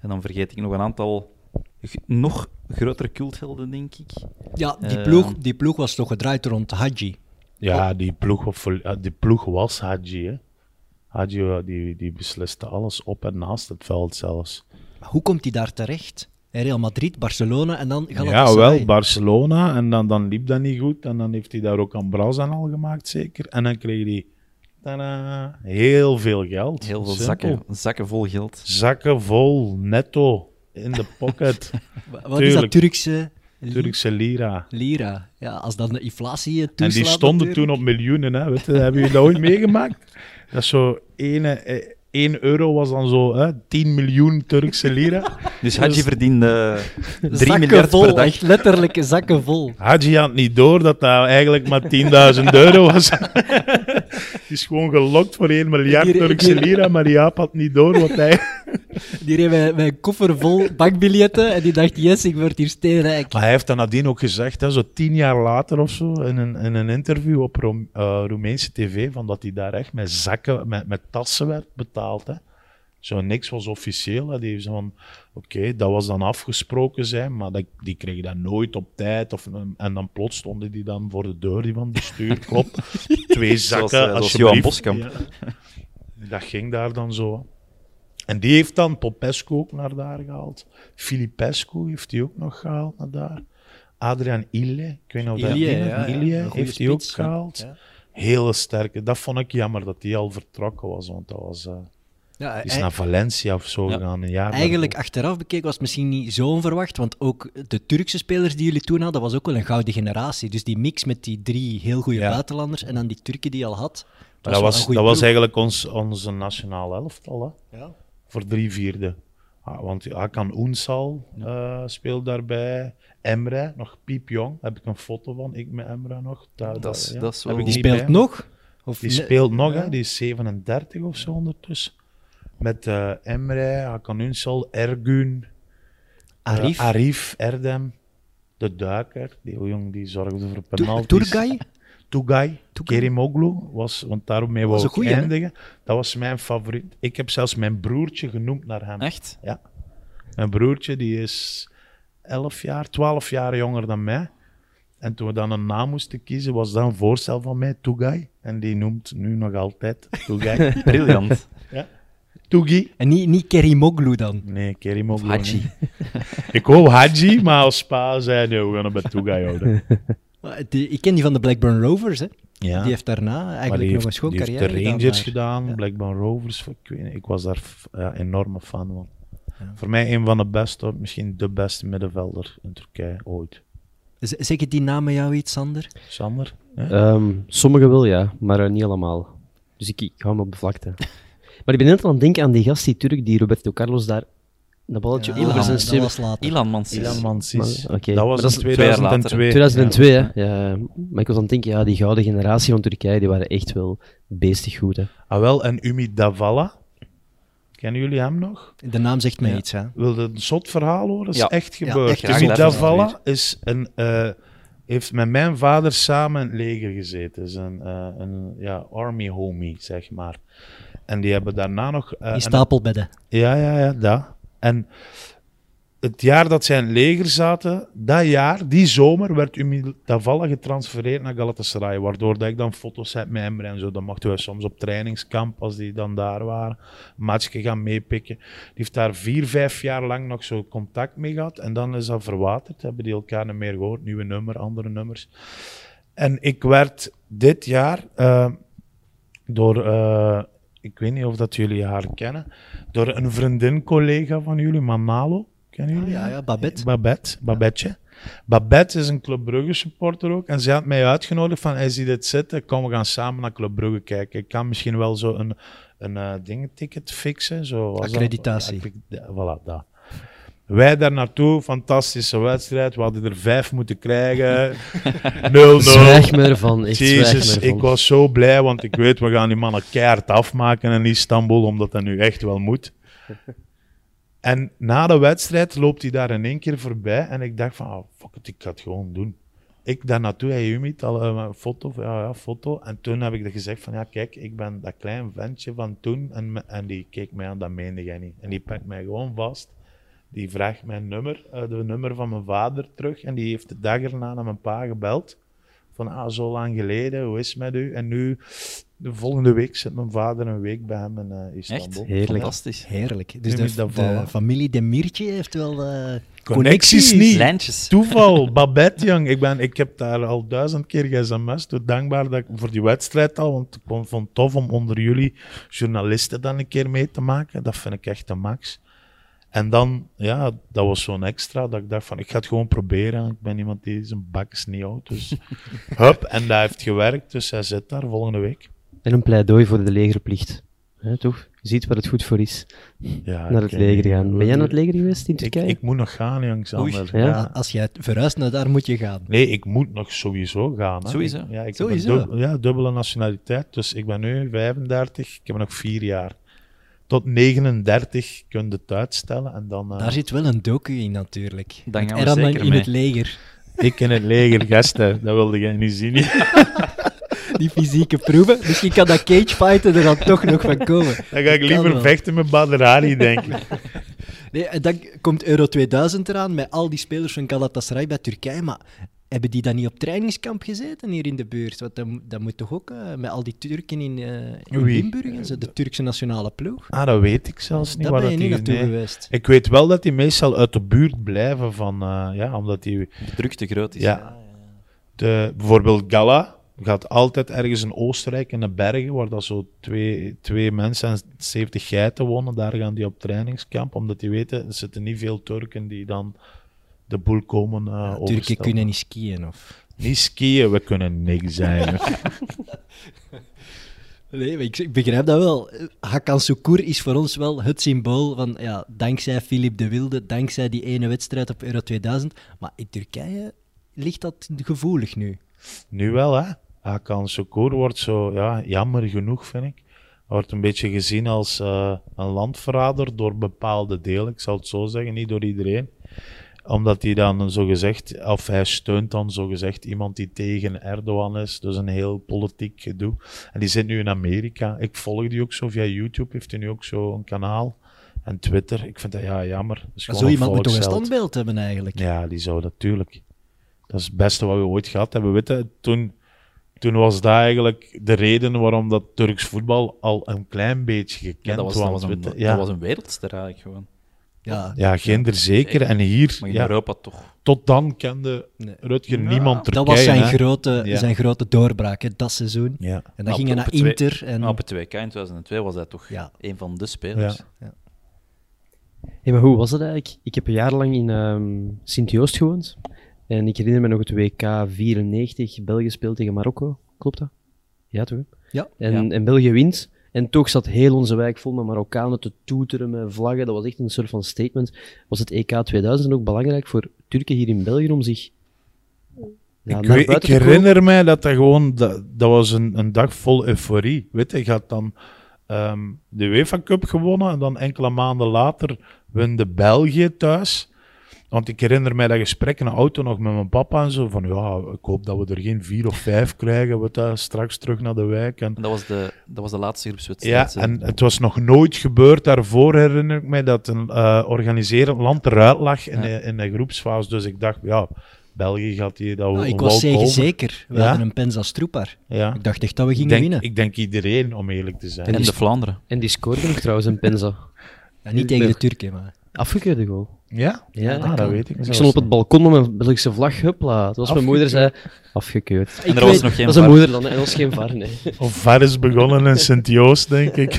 F: En dan vergeet ik nog een aantal g- nog grotere culthelden, denk ik.
C: Ja, die,
F: Eh,
C: ploeg, die ploeg was toch gedraaid rond Hadji.
F: Oh.
D: Ja, die ploeg, op- eh, die ploeg was Hadji. Hè. Hadji eh, die, die besliste alles op en naast het veld zelfs.
C: Maar hoe komt die daar terecht? Eh, Real Madrid, Barcelona en dan
D: Ja,
C: Galatasaray.
D: wel, Barcelona. En dan, dan liep dat niet goed. En dan heeft hij daar ook aan Brazan al gemaakt, zeker. En dan kreeg hij tadaa, heel veel geld.
F: Heel veel
D: Simpel.
F: zakken, zakken vol geld.
D: Zakken vol, netto, in de
F: (laughs)
D: pocket.
C: Wa- Wat is dat
D: tuurlijk.
C: Turkse li-
D: Turkse lira.
C: lira? Ja, als dan de inflatie eh, toeslaat
D: En die stonden
C: natuurlijk.
D: toen op miljoenen. Hè. Weet je, hebben jullie dat ooit meegemaakt? Dat is zo 1 euro was dan zo hè, 10 miljoen Turkse lira.
F: Dus Hadji
C: (laughs)
F: verdiende 3
C: Zakken
F: miljard
C: vol,
F: per
C: (laughs)
F: dag.
C: echt letterlijk zakken vol.
D: Hadji had niet door dat dat eigenlijk maar 10.000 euro was. (laughs) Die is gewoon gelokt voor 1 miljard
C: Hier-
D: Turkse
C: hier-
D: lira, maar die aap had niet door wat hij...
C: Die reed met, met een koffer
D: (laughs)
C: vol bankbiljetten en die dacht, yes, ik word hier steenrijk.
D: Maar hij heeft dat nadien ook gezegd, hè, zo tien jaar later of zo, in een, in een interview op Roem- eh, Roemeense tv, van dat hij daar echt met zakken, met, met tassen werd betaald. Hè. Zo niks was officieel. Hè. Die heeft zo van, oké, dat was dan afgesproken zijn, maar dat, die kreeg dat nooit op tijd. Of, en dan plots stonden die dan voor de deur, die van de stuur,
F: (laughs)
D: klopt. Twee zakken,
F: Zoals, eh, zoals
D: alsjeblieft.
F: Johan Boskamp.
D: Ja. Dat ging daar dan zo. En die heeft dan Popescu ook naar daar gehaald. Filipescu heeft die ook nog gehaald naar daar. Adriaan Ille, ik weet niet of dat
C: Ilje,
D: Ille,
C: ja, ja.
D: Ilje
C: Een goede
D: heeft die ook
C: spits, ja.
D: gehaald.
C: Ja.
D: Hele sterke. Dat vond ik jammer dat die al vertrokken was, want dat was, eh,
C: Ja,
D: die is
C: hij-
D: naar Valencia of zo
F: Ja.
D: gegaan. Een jaar
C: Eigenlijk
D: daarvoor.
C: achteraf bekeken was het misschien niet zo onverwacht, want ook de Turkse spelers die jullie toen hadden, was ook wel een gouden generatie. Dus die mix met die drie heel goede
D: Ja.
C: buitenlanders en dan die Turken die je al had.
D: Maar dat was,
C: wel een
D: dat
C: goede
D: was eigenlijk ons, onze nationale elftal. Hè.
C: ploeg. Ja.
D: voor drie vierde. Ah, want Hakan Oensal eh, speelt daarbij. Emre, nog piepjong. Heb ik een foto van, ik met Emre nog. Daar,
F: Dat is-
D: daar, ja.
F: dat is
D: Heb
F: wel-
D: ik
C: Die
D: niet
C: speelt
D: bij me.
C: nog? Of
D: Die
C: ne-
D: speelt nog, hè. die is 37 of zo ondertussen. Met eh, Emre, Hakan Unsal, Ergun, eh,
C: Arif?
D: Arif, Erdem, de Duiker, die jong die zorgde voor
C: Tur-
D: penalties.
C: Turgay?
D: Tugay,
C: Tugay.
D: Kerimoglu, was, want daarmee
C: Dat
D: wou
C: is
D: ik
C: een goeie, hè?
D: eindigen. Dat was mijn favoriet. Ik heb zelfs mijn broertje genoemd naar hem.
F: Echt?
D: Mijn broertje die is 11 jaar, 12 jaar jonger dan mij. En toen we dan een naam moesten kiezen, was dat een voorstel van mij, Tugay. En die noemt nu nog altijd
C: (laughs)
D: Tugay.
F: Briljant.
D: Tugi.
C: En niet, niet Kerimoglu dan?
D: Nee, Kerimoglu.
E: Hadji.
D: niet. Ik wou Hadji, maar als pa zei nee, we gaan hem bij Tugay houden.
C: Maar die- ik ken die van de Blackburn Rovers, hè.
D: Ja.
C: (laughs) die heeft daarna
D: Ah. Maar die
C: eigenlijk nog een
D: heeft-
C: schoon
D: die heeft
C: carrière
D: de
C: gedaan
D: Rangers
C: daar.
D: gedaan, Blackburn Rovers. Ik, weet niet, ik was daar f- ja, enorme fan van. Voor mij een van de beste, misschien de beste middenvelder in Turkije ooit.
C: Z- Zeggen die namen jou iets, Sander?
D: Sander? hè?
E: Ehm, sommigen wel, ja, maar eh, niet allemaal. Dus ik, ik hou me op de vlakte. (laughs) maar ik ben net aan het denken aan die gast, die Turk, die Roberto Carlos daar een balletje
C: Ja,
E: over zijn
C: dat
E: stuur.
C: was later.
F: Ilan Mansis.
D: Ilan Mansis.
E: Maar- oké.
D: Dat
E: Maar
D: was
E: dat
D: in
E: is
F: twee jaar later,
D: 2002.
E: 2002, hè. Ja, maar ik was aan het denken, ja, die gouden generatie van Turkije, die waren echt wel beestig goed, hè.
D: Ah wel, en Umi Davala. Kennen jullie hem nog?
C: De naam zegt mij iets, hè.
D: Wil je een zot verhaal horen? Dat is
F: Ja.
D: echt
C: Ja,
D: gebeurd.
C: echt
D: Umi
F: gebeurd.
D: Davala is een, eh, heeft met mijn vader samen in het leger gezeten. Is een, eh, een ja, army homie, zeg maar. En die hebben daarna nog... eh,
C: Die
D: een-
C: stapelbedden.
D: Ja, ja, ja, dat. En het jaar dat zij in het leger zaten, dat jaar, die zomer, werd Umi Davala getransfereerd naar Galatasaray. Waardoor dat ik dan foto's heb met hem en zo. Dan mochten we soms op trainingskamp, als die dan daar waren, een matchje gaan meepikken. Die heeft daar vier, vijf jaar lang nog zo contact mee gehad. En dan is dat verwaterd. Hebben die elkaar niet meer gehoord. Nieuwe nummer, andere nummers. En ik werd dit jaar eh, door, eh, ik weet niet of dat jullie haar kennen, door een vriendin, collega van jullie, Manalo. Kennen jullie?
C: Ah, ja,
D: haar?
C: ja, Babette.
D: Babette, Babetje. Babette is een Club Brugge supporter ook. En zij had mij uitgenodigd van, hij ziet dit zitten, kom we gaan samen naar Club Brugge kijken. Ik kan misschien wel zo een, een eh, dingeticket fixen. Zo, was dat?
C: Accreditatie.
D: Accre- ja, voilà, dat. Wij daar naartoe, fantastische wedstrijd. We hadden er vijf moeten
C: (laughs)
D: krijgen. 0-0.
E: Zwijg me ervan. Echt
D: Jezus,
E: zwijg me ervan.
D: ik was zo blij, want ik weet, we gaan die mannen keihard afmaken in Istanbul, omdat dat nu echt wel moet. En na de wedstrijd loopt hij daar in één keer voorbij en ik dacht van, ah, fuck it, ik ga het gewoon doen. Ik daar naartoe, hey Humid, al eh, een foto, ja, ja, foto. En toen heb ik er gezegd van, ja kijk, ik ben dat klein ventje van toen. En, me- en die keek mij aan, dat meende jij niet. En die pakt mij gewoon vast. Die vraagt mijn nummer, eh, de nummer van mijn vader terug. En die heeft de dag erna naar mijn pa gebeld. Van, ah, zo lang geleden, hoe is het met u? En nu, de volgende week zit mijn vader een week bij hem in eh,
F: Echt?
D: Istanbul.
E: Heerlijk.
F: Fantastisch.
C: Heerlijk. Dus
D: Nu
C: de,
D: moet dat
C: de
D: vallen.
C: familie Demirtje heeft wel... eh,
D: Connecties niet.
F: Lijntjes.
D: Toeval, Babette, jong. Ik, ben, ik heb daar al duizend keer ge-sms. Doe dankbaar dat ik voor die wedstrijd al. Want ik vond vond het tof om onder jullie journalisten dan een keer mee te maken. Dat vind ik echt de max. En dan, ja, dat was zo'n extra. Dat ik dacht van, ik ga het gewoon proberen. Ik ben iemand die zijn bak is niet oud.
E: (laughs)
D: Dus hup, en dat heeft gewerkt. Dus hij zit daar volgende week.
E: En een pleidooi voor de legerplicht. Hè, toch? Je ziet waar het goed voor is.
D: Ja,
E: Naar het
D: ik-
E: leger gaan. Ben jij naar het leger geweest in
D: Ah, Ik,
E: Turkije?
D: ik moet nog gaan, jong, Sander.
E: Oei. Ja.
D: Ja.
C: Als jij verhuist naar daar, moet je gaan.
D: Nee, ik moet nog sowieso gaan. Hè.
F: Sowieso.
D: Ik- Ja, ik
C: Sowieso.
D: heb een dub- ja, dubbele nationaliteit. Dus ik ben nu 35, ik heb nog vier jaar. Tot 39 kun je het uitstellen. En dan, eh,
C: Daar zit wel een docu in natuurlijk.
F: Dan gaan we
C: Erhan
F: zeker
C: in
F: mee.
C: het leger.
D: Ik in het leger, gasten, dat wilde jij niet (laughs) zien.
C: Die fysieke proeven. Misschien kan dat cagefighten er dan toch nog van komen.
D: Dan ga ik
C: Kan
D: liever
C: wel.
D: vechten met Bader Hari, denk ik.
C: Nee, en dan komt Euro 2000 eraan met al die spelers van Galatasaray bij Turkije. Maar hebben die dan niet op trainingskamp gezeten hier in de buurt? Want dat, dat moet toch ook eh, met al die Turken in, eh in
D: Wie?
C: Limburg en zo, de Turkse nationale ploeg?
D: (laughs)
C: Dus
D: Ah, dat weet ik zelfs niet.
C: Daar
D: waar
C: ben je
D: dat
C: niet
D: die-
C: naartoe
D: nee.
C: geweest.
D: Ik weet wel dat die meestal uit de buurt blijven van... eh, ja, omdat die...
F: De druk te groot is.
D: Ja. De, bijvoorbeeld Gala gaat altijd ergens in Oostenrijk in de bergen, waar dat zo twee, twee mensen en 70 geiten wonen. Daar gaan die op trainingskamp, omdat die weten, er zitten niet veel Turken die dan de boel komen eh
C: Ja, Turken
D: overstellen.
C: kunnen niet skiën of...
D: Niet skiën, we kunnen niks
C: (laughs)
D: zijn. (laughs)
C: Nee, maar ik, ik begrijp dat wel. Eh, Hakan Sukur is voor ons wel het symbool van, ja, dankzij Filip de Wilde, dankzij die ene wedstrijd op Euro 2000. Maar in Turkije ligt dat gevoelig nu.
D: nu wel, hè. Hakan Sokoor wordt zo, ja, jammer genoeg, vind ik. Hij wordt een beetje gezien als eh, een landverrader door bepaalde delen, ik zal het zo zeggen, niet door iedereen. Omdat hij dan zogezegd, of hij steunt dan zogezegd iemand die tegen Erdogan is. Dus een heel politiek gedoe. En die zit nu in Amerika. Ik volg die ook zo via YouTube, heeft hij nu ook zo een kanaal. En Twitter, ik vind dat ja jammer. Dat is
C: Maar
D: gewoon
C: zo
D: een
C: iemand moet toch een
D: volksheld.
C: standbeeld hebben eigenlijk?
D: Ja, die zou natuurlijk. Dat is het beste wat we ooit gehad hebben. Weet je, toen, toen was dat eigenlijk de reden waarom dat Turks voetbal al een klein beetje gekend
F: Ja, dat, was, dat,
D: was.
F: was een,
D: weet je.
F: dat
D: ja.
F: was een wereldster eigenlijk gewoon.
C: Ja,
D: ja, Ginder zeker. En hier,
F: Maar in
D: ja,
F: Europa toch.
D: tot dan kende
C: Nee.
D: Rutger niemand Turkije.
C: dat was zijn,
D: hè.
C: grote,
D: Ja.
C: zijn grote doorbraak hè, dat seizoen.
D: Ja.
C: En dan
F: Maar
C: ging
F: op-
C: hij naar
F: op het twee-
C: Inter. En...
F: Maar op het WK in 2002 was hij toch
C: Ja.
F: een van de spelers.
D: Mm. Ja.
E: Hey, maar hoe was dat eigenlijk? Ik heb een jaar lang in ehm, Sint-Joost gewoond. En ik herinner me nog het WK 94. België speelt tegen Marokko. Klopt dat? Ja, toch? hè?
C: Ja.
E: En, en België wint. En toch zat heel onze wijk vol met Marokkanen te toeteren met vlaggen. Dat was echt een soort van statement. Was het E EK 2000 ook belangrijk voor Turken hier in België om zich ja,
D: ik,
E: naar
D: weet- ik
E: buiten te komen?
D: herinner mij dat dat gewoon, dat, dat was een, een dag vol euforie. Weet je, je had dan ehm, de UEFA Cup gewonnen en dan enkele maanden later winde België thuis. Want ik herinner mij dat gesprek in de auto nog met mijn papa en zo van ja, ik hoop dat we er geen vier of vijf krijgen, we daar straks terug naar de wijk. En,
F: En dat was de, dat was de laatste
D: ja,
F: groepswedstrijd. hè.
D: en het was nog nooit gebeurd. Daarvoor herinner ik mij dat een eh organiserend land eruit lag in,
F: Ja.
D: de, in de groepsfase. Dus ik dacht, ja, België gaat hier dat
C: Nou,
D: wel
C: ik was zeker zeker. We
D: Ja?
C: hadden een Penza Stroepar.
D: Ja.
C: Ik dacht echt dat we gingen
D: ik denk,
C: winnen.
D: Ik denk iedereen, om eerlijk te zijn.
F: En de Vlaanderen.
E: En die scoorde nog trouwens een penza.
C: Ja, niet tegen de Turken, maar...
E: Afgekeurde goal.
D: Ja?
E: Ja,
D: Ah, dat,
E: kan.
D: weet ik
E: Ik
D: zelfs
E: stond op het
D: niet.
E: balkon met mijn Belgische vlag, huppla. Het was mijn moeder zei, afgekeurd.
F: En er
C: weet-
F: was nog geen
E: dat is een
F: VAR.
E: moeder dan, hè. en dat is geen var, nee.
D: Of ver is begonnen in Sint-Joost, denk ik.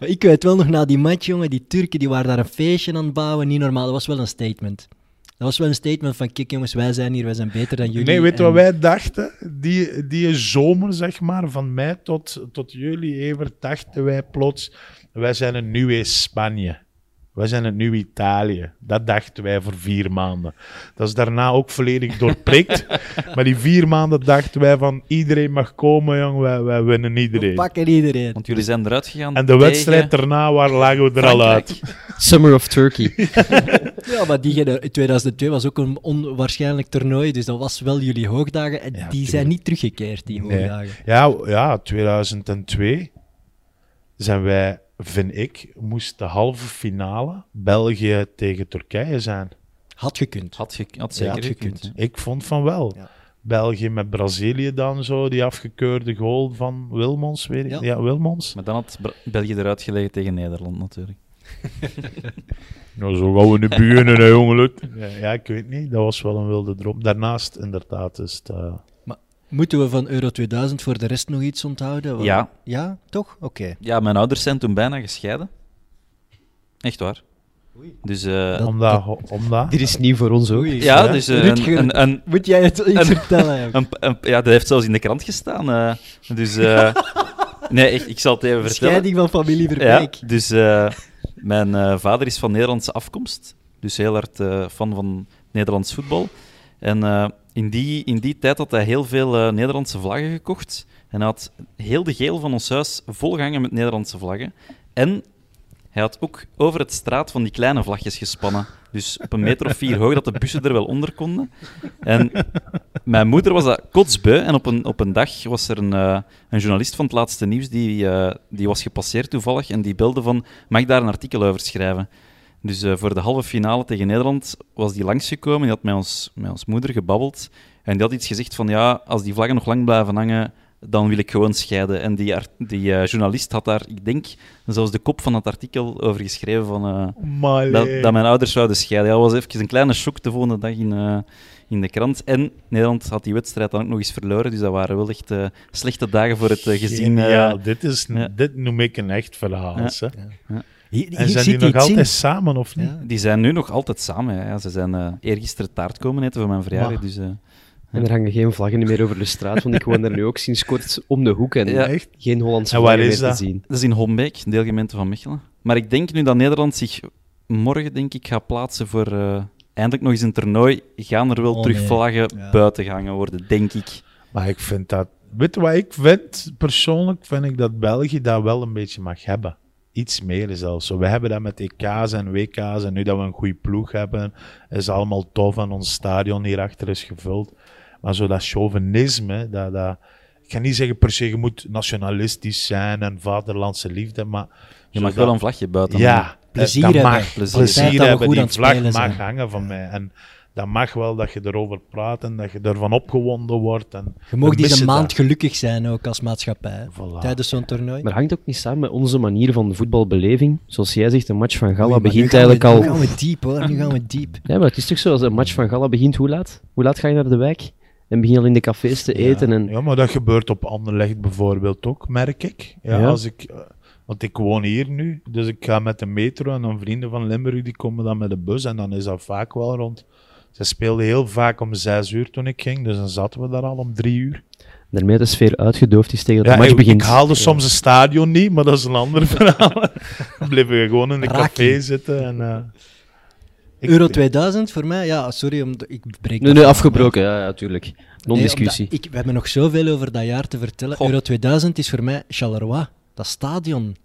C: Maar ik weet wel nog na die match, jongen, die Turken die waren daar een feestje aan het bouwen. Niet normaal, dat was wel een statement. Dat was wel een statement van, kijk jongens, wij zijn hier, wij zijn beter dan (laughs) jullie.
D: nee, weet je
C: En-
D: wat wij dachten? Die, die zomer, zeg maar, van mei tot, tot juli, Evert, dachten wij plots, wij zijn een nieuwe Spanje. Wij zijn een nieuw Italië. Dat dachten wij voor vier maanden. Dat is daarna ook volledig
C: (laughs)
D: doorprikt. maar die vier maanden dachten wij van, iedereen mag komen, jong, wij, wij winnen
C: We
D: iedereen.
C: pakken iedereen.
F: Want jullie zijn eruit gegaan
D: En de wedstrijd daarna waar lagen we er al eh, uit.
E: (laughs) Summer of
D: (laughs)
E: Turkey.
C: Ja, maar die gener- 2002 was ook een onwaarschijnlijk toernooi, dus dat was wel jullie hoogdagen. En die
D: tuurlijk.
C: zijn niet teruggekeerd, die
D: Nee.
C: hoogdagen.
D: Ja, w- ja, 2002 zijn wij, vind ik, moest de halve finale België tegen Turkije zijn.
C: Had gekund.
F: Had, ge- had zeker
C: had
F: gekund.
C: gekund.
D: Ik vond van wel.
C: Ja.
D: België met Brazilië dan zo, die afgekeurde goal van Wilmons, weet ik.
C: Ja.
D: Ja, Wilmons.
F: Maar dan had Bra- België eruit gelegen tegen Nederland natuurlijk.
D: Nou, zo gaan we nu beginnen, hè, jongen. Lut. Ja, ja, ik weet niet. Dat was wel een wilde droom. Daarnaast, inderdaad, is het... eh,
C: Moeten we van Euro 2000 voor de rest nog iets onthouden? Want-
F: Ja.
C: Ja, toch? Oké.
F: Ja, mijn ouders zijn toen bijna gescheiden. Echt waar. Dus, eh,
C: Dat-
D: omdat, omdat...
E: Dit is nieuw voor ons ook.
C: Oei.
F: ja, dus eh,
C: Rutger,
F: een, een, een,
C: moet jij het iets vertellen? joh?
F: Een- een- ja, dat heeft zelfs in de krant gestaan. eh. dus, eh, nee, echt, ik zal het
C: Dus
F: even vertellen.
C: Scheiding van familie
F: Ja,
C: Verbeek.
F: dus eh, (laughs) mijn eh, vader is van Nederlandse afkomst, dus heel hard eh, fan van Nederlands voetbal. En eh, in, die, in die tijd had hij heel veel eh, Nederlandse vlaggen gekocht. En hij had heel de geel van ons huis volgehangen met Nederlandse vlaggen. En hij had ook over het straat van die kleine vlagjes gespannen. Dus op een meter of vier hoog, dat de bussen er wel onder konden. En mijn moeder was dat kotsbeu. En op een, op een dag was er een, eh, een journalist van het laatste nieuws die, eh, die was gepasseerd toevallig. En die belde van, mag ik daar een artikel over schrijven? Dus eh, voor de halve finale tegen Nederland was die langsgekomen. Die had met ons, met ons moeder gebabbeld. En die had iets gezegd van, ja, als die vlaggen nog lang blijven hangen, dan wil ik gewoon scheiden. En die, art- die eh, journalist had daar, ik denk, zelfs de kop van het artikel over geschreven van... eh,
D: Maar,
F: dat, dat mijn ouders zouden scheiden. Ja, dat was even een kleine shock de volgende dag in, eh, in de krant. En Nederland had die wedstrijd dan ook nog eens verloren. Dus dat waren wel echt eh, slechte dagen voor het eh, gezin. eh.
D: Geniaal. dit, is,
F: ja.
D: dit noem ik een echt verhaal.
F: Ja.
D: zeg.
C: Hier, hier
D: En zijn
C: zit
D: die nog
C: iets in.
D: altijd samen, of niet?
C: Ja.
F: Die zijn nu nog altijd samen. hè. Ja, ze zijn eh eergisteren taart komen eten voor mijn verjaardag.
D: Maar-
F: Dus, eh,
E: En er hangen geen vlaggen meer over de straat, want ik woon daar nu ook sinds kort om de hoek en
F: Ja.
D: Echt?
E: geen Hollandse
D: En waar
E: vlaggen meer
D: is dat?
E: te zien.
F: dat is in Hombeek, een deelgemeente van Mechelen. Maar ik denk nu dat Nederland zich morgen denk ik, gaat plaatsen voor eh, eindelijk nog eens een toernooi. Gaan er wel
C: Oh,
F: terug
C: nee.
F: vlaggen
C: Ja.
F: buiten gehangen worden, denk ik.
D: Maar ik vind dat... Weet je wat ik vind? Persoonlijk vind ik dat België dat wel een beetje mag hebben. Iets meer zelfs. Zo, We hebben dat met EK's en WK's en nu dat we een goede ploeg hebben, is allemaal tof en ons stadion hierachter is gevuld. Maar zo dat chauvinisme, dat, dat... Ik ga niet zeggen per se, je moet nationalistisch zijn en vaderlandse liefde, maar...
F: Je
D: zo
F: mag
D: dat-
F: wel een vlagje buiten hangen.
D: ja,
C: Plezier
D: dat
C: hebben.
D: Mag,
F: Plezier.
D: plezier
F: Het
C: feit dat we
D: hebben.
C: goed aan
D: Die
C: het
D: vlag
C: spelen
D: mag
C: zijn.
D: hangen van mij. En dat mag wel dat je erover praat en dat je ervan opgewonden wordt. En
C: Je
D: we
C: mag eens
D: missen
C: een maand
D: dat.
C: gelukkig zijn ook als maatschappij. hè.
D: Voilà.
C: Tijdens zo'n toernooi.
E: Maar hangt ook niet samen met onze manier van voetbalbeleving. Zoals jij zegt, een match van Gala
C: Oei, maar nu
E: begint
C: gaan we-
E: eigenlijk al...
C: Nu gaan we diep hoor, (laughs) nu gaan we diep.
E: Ja, maar het is toch zo, als een match van Gala begint, hoe laat? Hoe laat ga je naar de wijk? En begin je al in de cafés te eten en...
D: Ja, maar dat gebeurt op Anderlecht bijvoorbeeld ook, merk ik. Ja,
E: Ja.
D: Als ik eh, want ik woon hier nu, dus ik ga met de metro en dan vrienden van Limburg die komen dan met de bus en dan is dat vaak wel rond. Ze speelden heel vaak om zes uur toen ik ging, dus dan zaten we daar al om drie uur.
E: Daarmee de sfeer uitgedoofd is tegen
D: Ja,
E: dat de match
D: ik,
E: begint.
D: ik haalde soms een stadion niet, maar dat is een ander (laughs) verhaal. Dan bleven we gewoon in de
C: Raak
D: café zitten. En, eh, ik-
C: Euro 2000 voor mij, ja, sorry, om de- ik breek
E: Nee,
C: dat
E: nee,
C: af.
E: afgebroken, ja, ja, tuurlijk. Non-discussie.
C: Nee, omdat ik, we hebben nog zoveel over dat jaar te vertellen.
F: Goh.
C: Euro 2000 is voor mij Charleroi, dat stadion.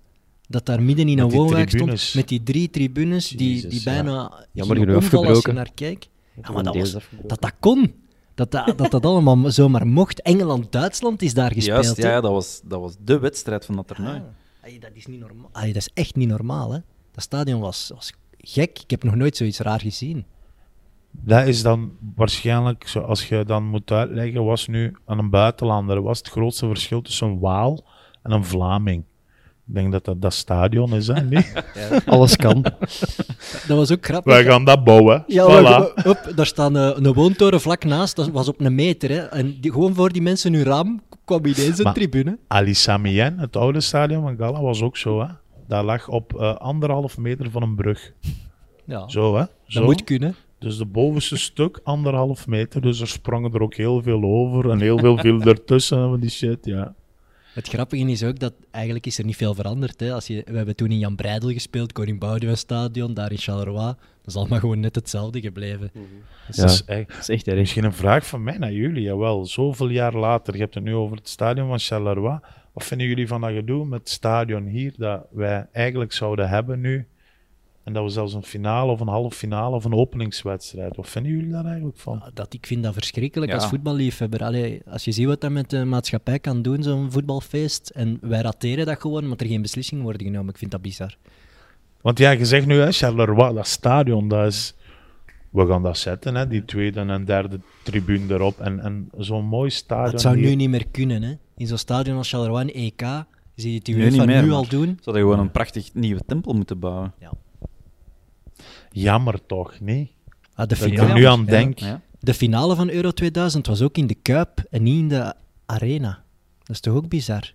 C: Dat daar midden in
D: Met
C: een
D: die
C: woonwijk stond,
D: tribunes.
C: met die drie tribunes, die,
D: Jezus,
C: die
D: ja.
C: bijna
E: Jammer
C: gingen
E: genoeg
C: omvallen als je
E: afgebroken.
C: naar keek. Ja, maar
E: Gewoon
C: dat,
E: deels
C: was,
E: afgebroken.
C: dat dat kon. Dat dat, dat dat allemaal (laughs) zomaar mocht. Engeland-Duitsland is daar gespeeld.
F: Juist,
C: hè.
F: ja, dat was, dat was de wedstrijd van dat toernooi.
C: Ay, dat is niet normaal. Ay, dat is echt niet normaal, hè. Dat stadion was, was gek. Ik heb nog nooit zoiets raar gezien.
D: Dat is dan waarschijnlijk, zo, als je dan moet uitleggen, was nu aan een buitenlander, was het grootste verschil tussen een Waal en een Vlaming. Ik denk dat dat, dat stadion is, (laughs) hè? Nee?
E: Alles kan.
C: Dat was ook grappig.
D: Wij gaan dat bouwen.
C: Ja,
D: voilà.
C: we- we- op, daar staat een, een woontoren vlak naast, dat was op een meter. Hè. En die, gewoon voor die mensen hun raam kwam ineens een
D: Maar-
C: tribune.
D: Ali Samien, het oude stadion van Gala, was ook zo, hè? Dat lag op eh, anderhalf meter van een brug.
C: Ja,
D: Zo, hè? Zo.
C: dat moet kunnen.
D: Dus de bovenste stuk, anderhalf meter. Dus er sprongen er ook heel veel over en heel veel viel ertussen en van die shit, ja.
C: Het grappige is ook dat eigenlijk is er niet veel veranderd. Hè? Als je, we hebben toen in Jan Breidel gespeeld, Koning Boudewijn Stadion, daar in Charleroi. Dat is allemaal gewoon net hetzelfde gebleven.
D: Dus dat is echt-
E: (laughs) Dat is echt erg.
D: Misschien een vraag van mij naar jullie. Jawel, zoveel jaar later, je hebt het nu over het stadion van Charleroi. Wat vinden jullie van dat gedoe met het stadion hier dat wij eigenlijk zouden hebben nu? En dat we zelfs een finale of een halve finale of een openingswedstrijd. Wat vinden jullie daar eigenlijk van?
C: Ah, Dat, ik vind dat verschrikkelijk
F: Ja.
C: als voetballiefhebber. Allee, als je ziet wat dat met de maatschappij kan doen, zo'n voetbalfeest. En wij rateren dat gewoon, omdat er geen beslissingen worden genomen. Ik vind dat bizar.
D: Want ja, je zegt nu, hè, Charleroi, dat stadion, dat is... We gaan dat zetten, hè, die tweede en derde tribune erop. En, en zo'n mooi stadion.
C: Dat zou
D: hier.
C: nu niet meer kunnen. Hè? In zo'n stadion als Charleroi en EK, zie je het die
F: Nu niet
C: UEFA
F: meer,
C: nu
F: maar-
C: al doen.
F: Zouden gewoon een prachtig nieuwe tempel moeten bouwen.
D: Jammer toch, niet?
C: Ah, de,
D: Dat ik
C: finale,
D: er nu aan
C: Ja.
D: denk.
F: Ja.
C: de finale van Euro 2000 was ook in de Kuip en niet in de Arena. Dat is toch ook bizar?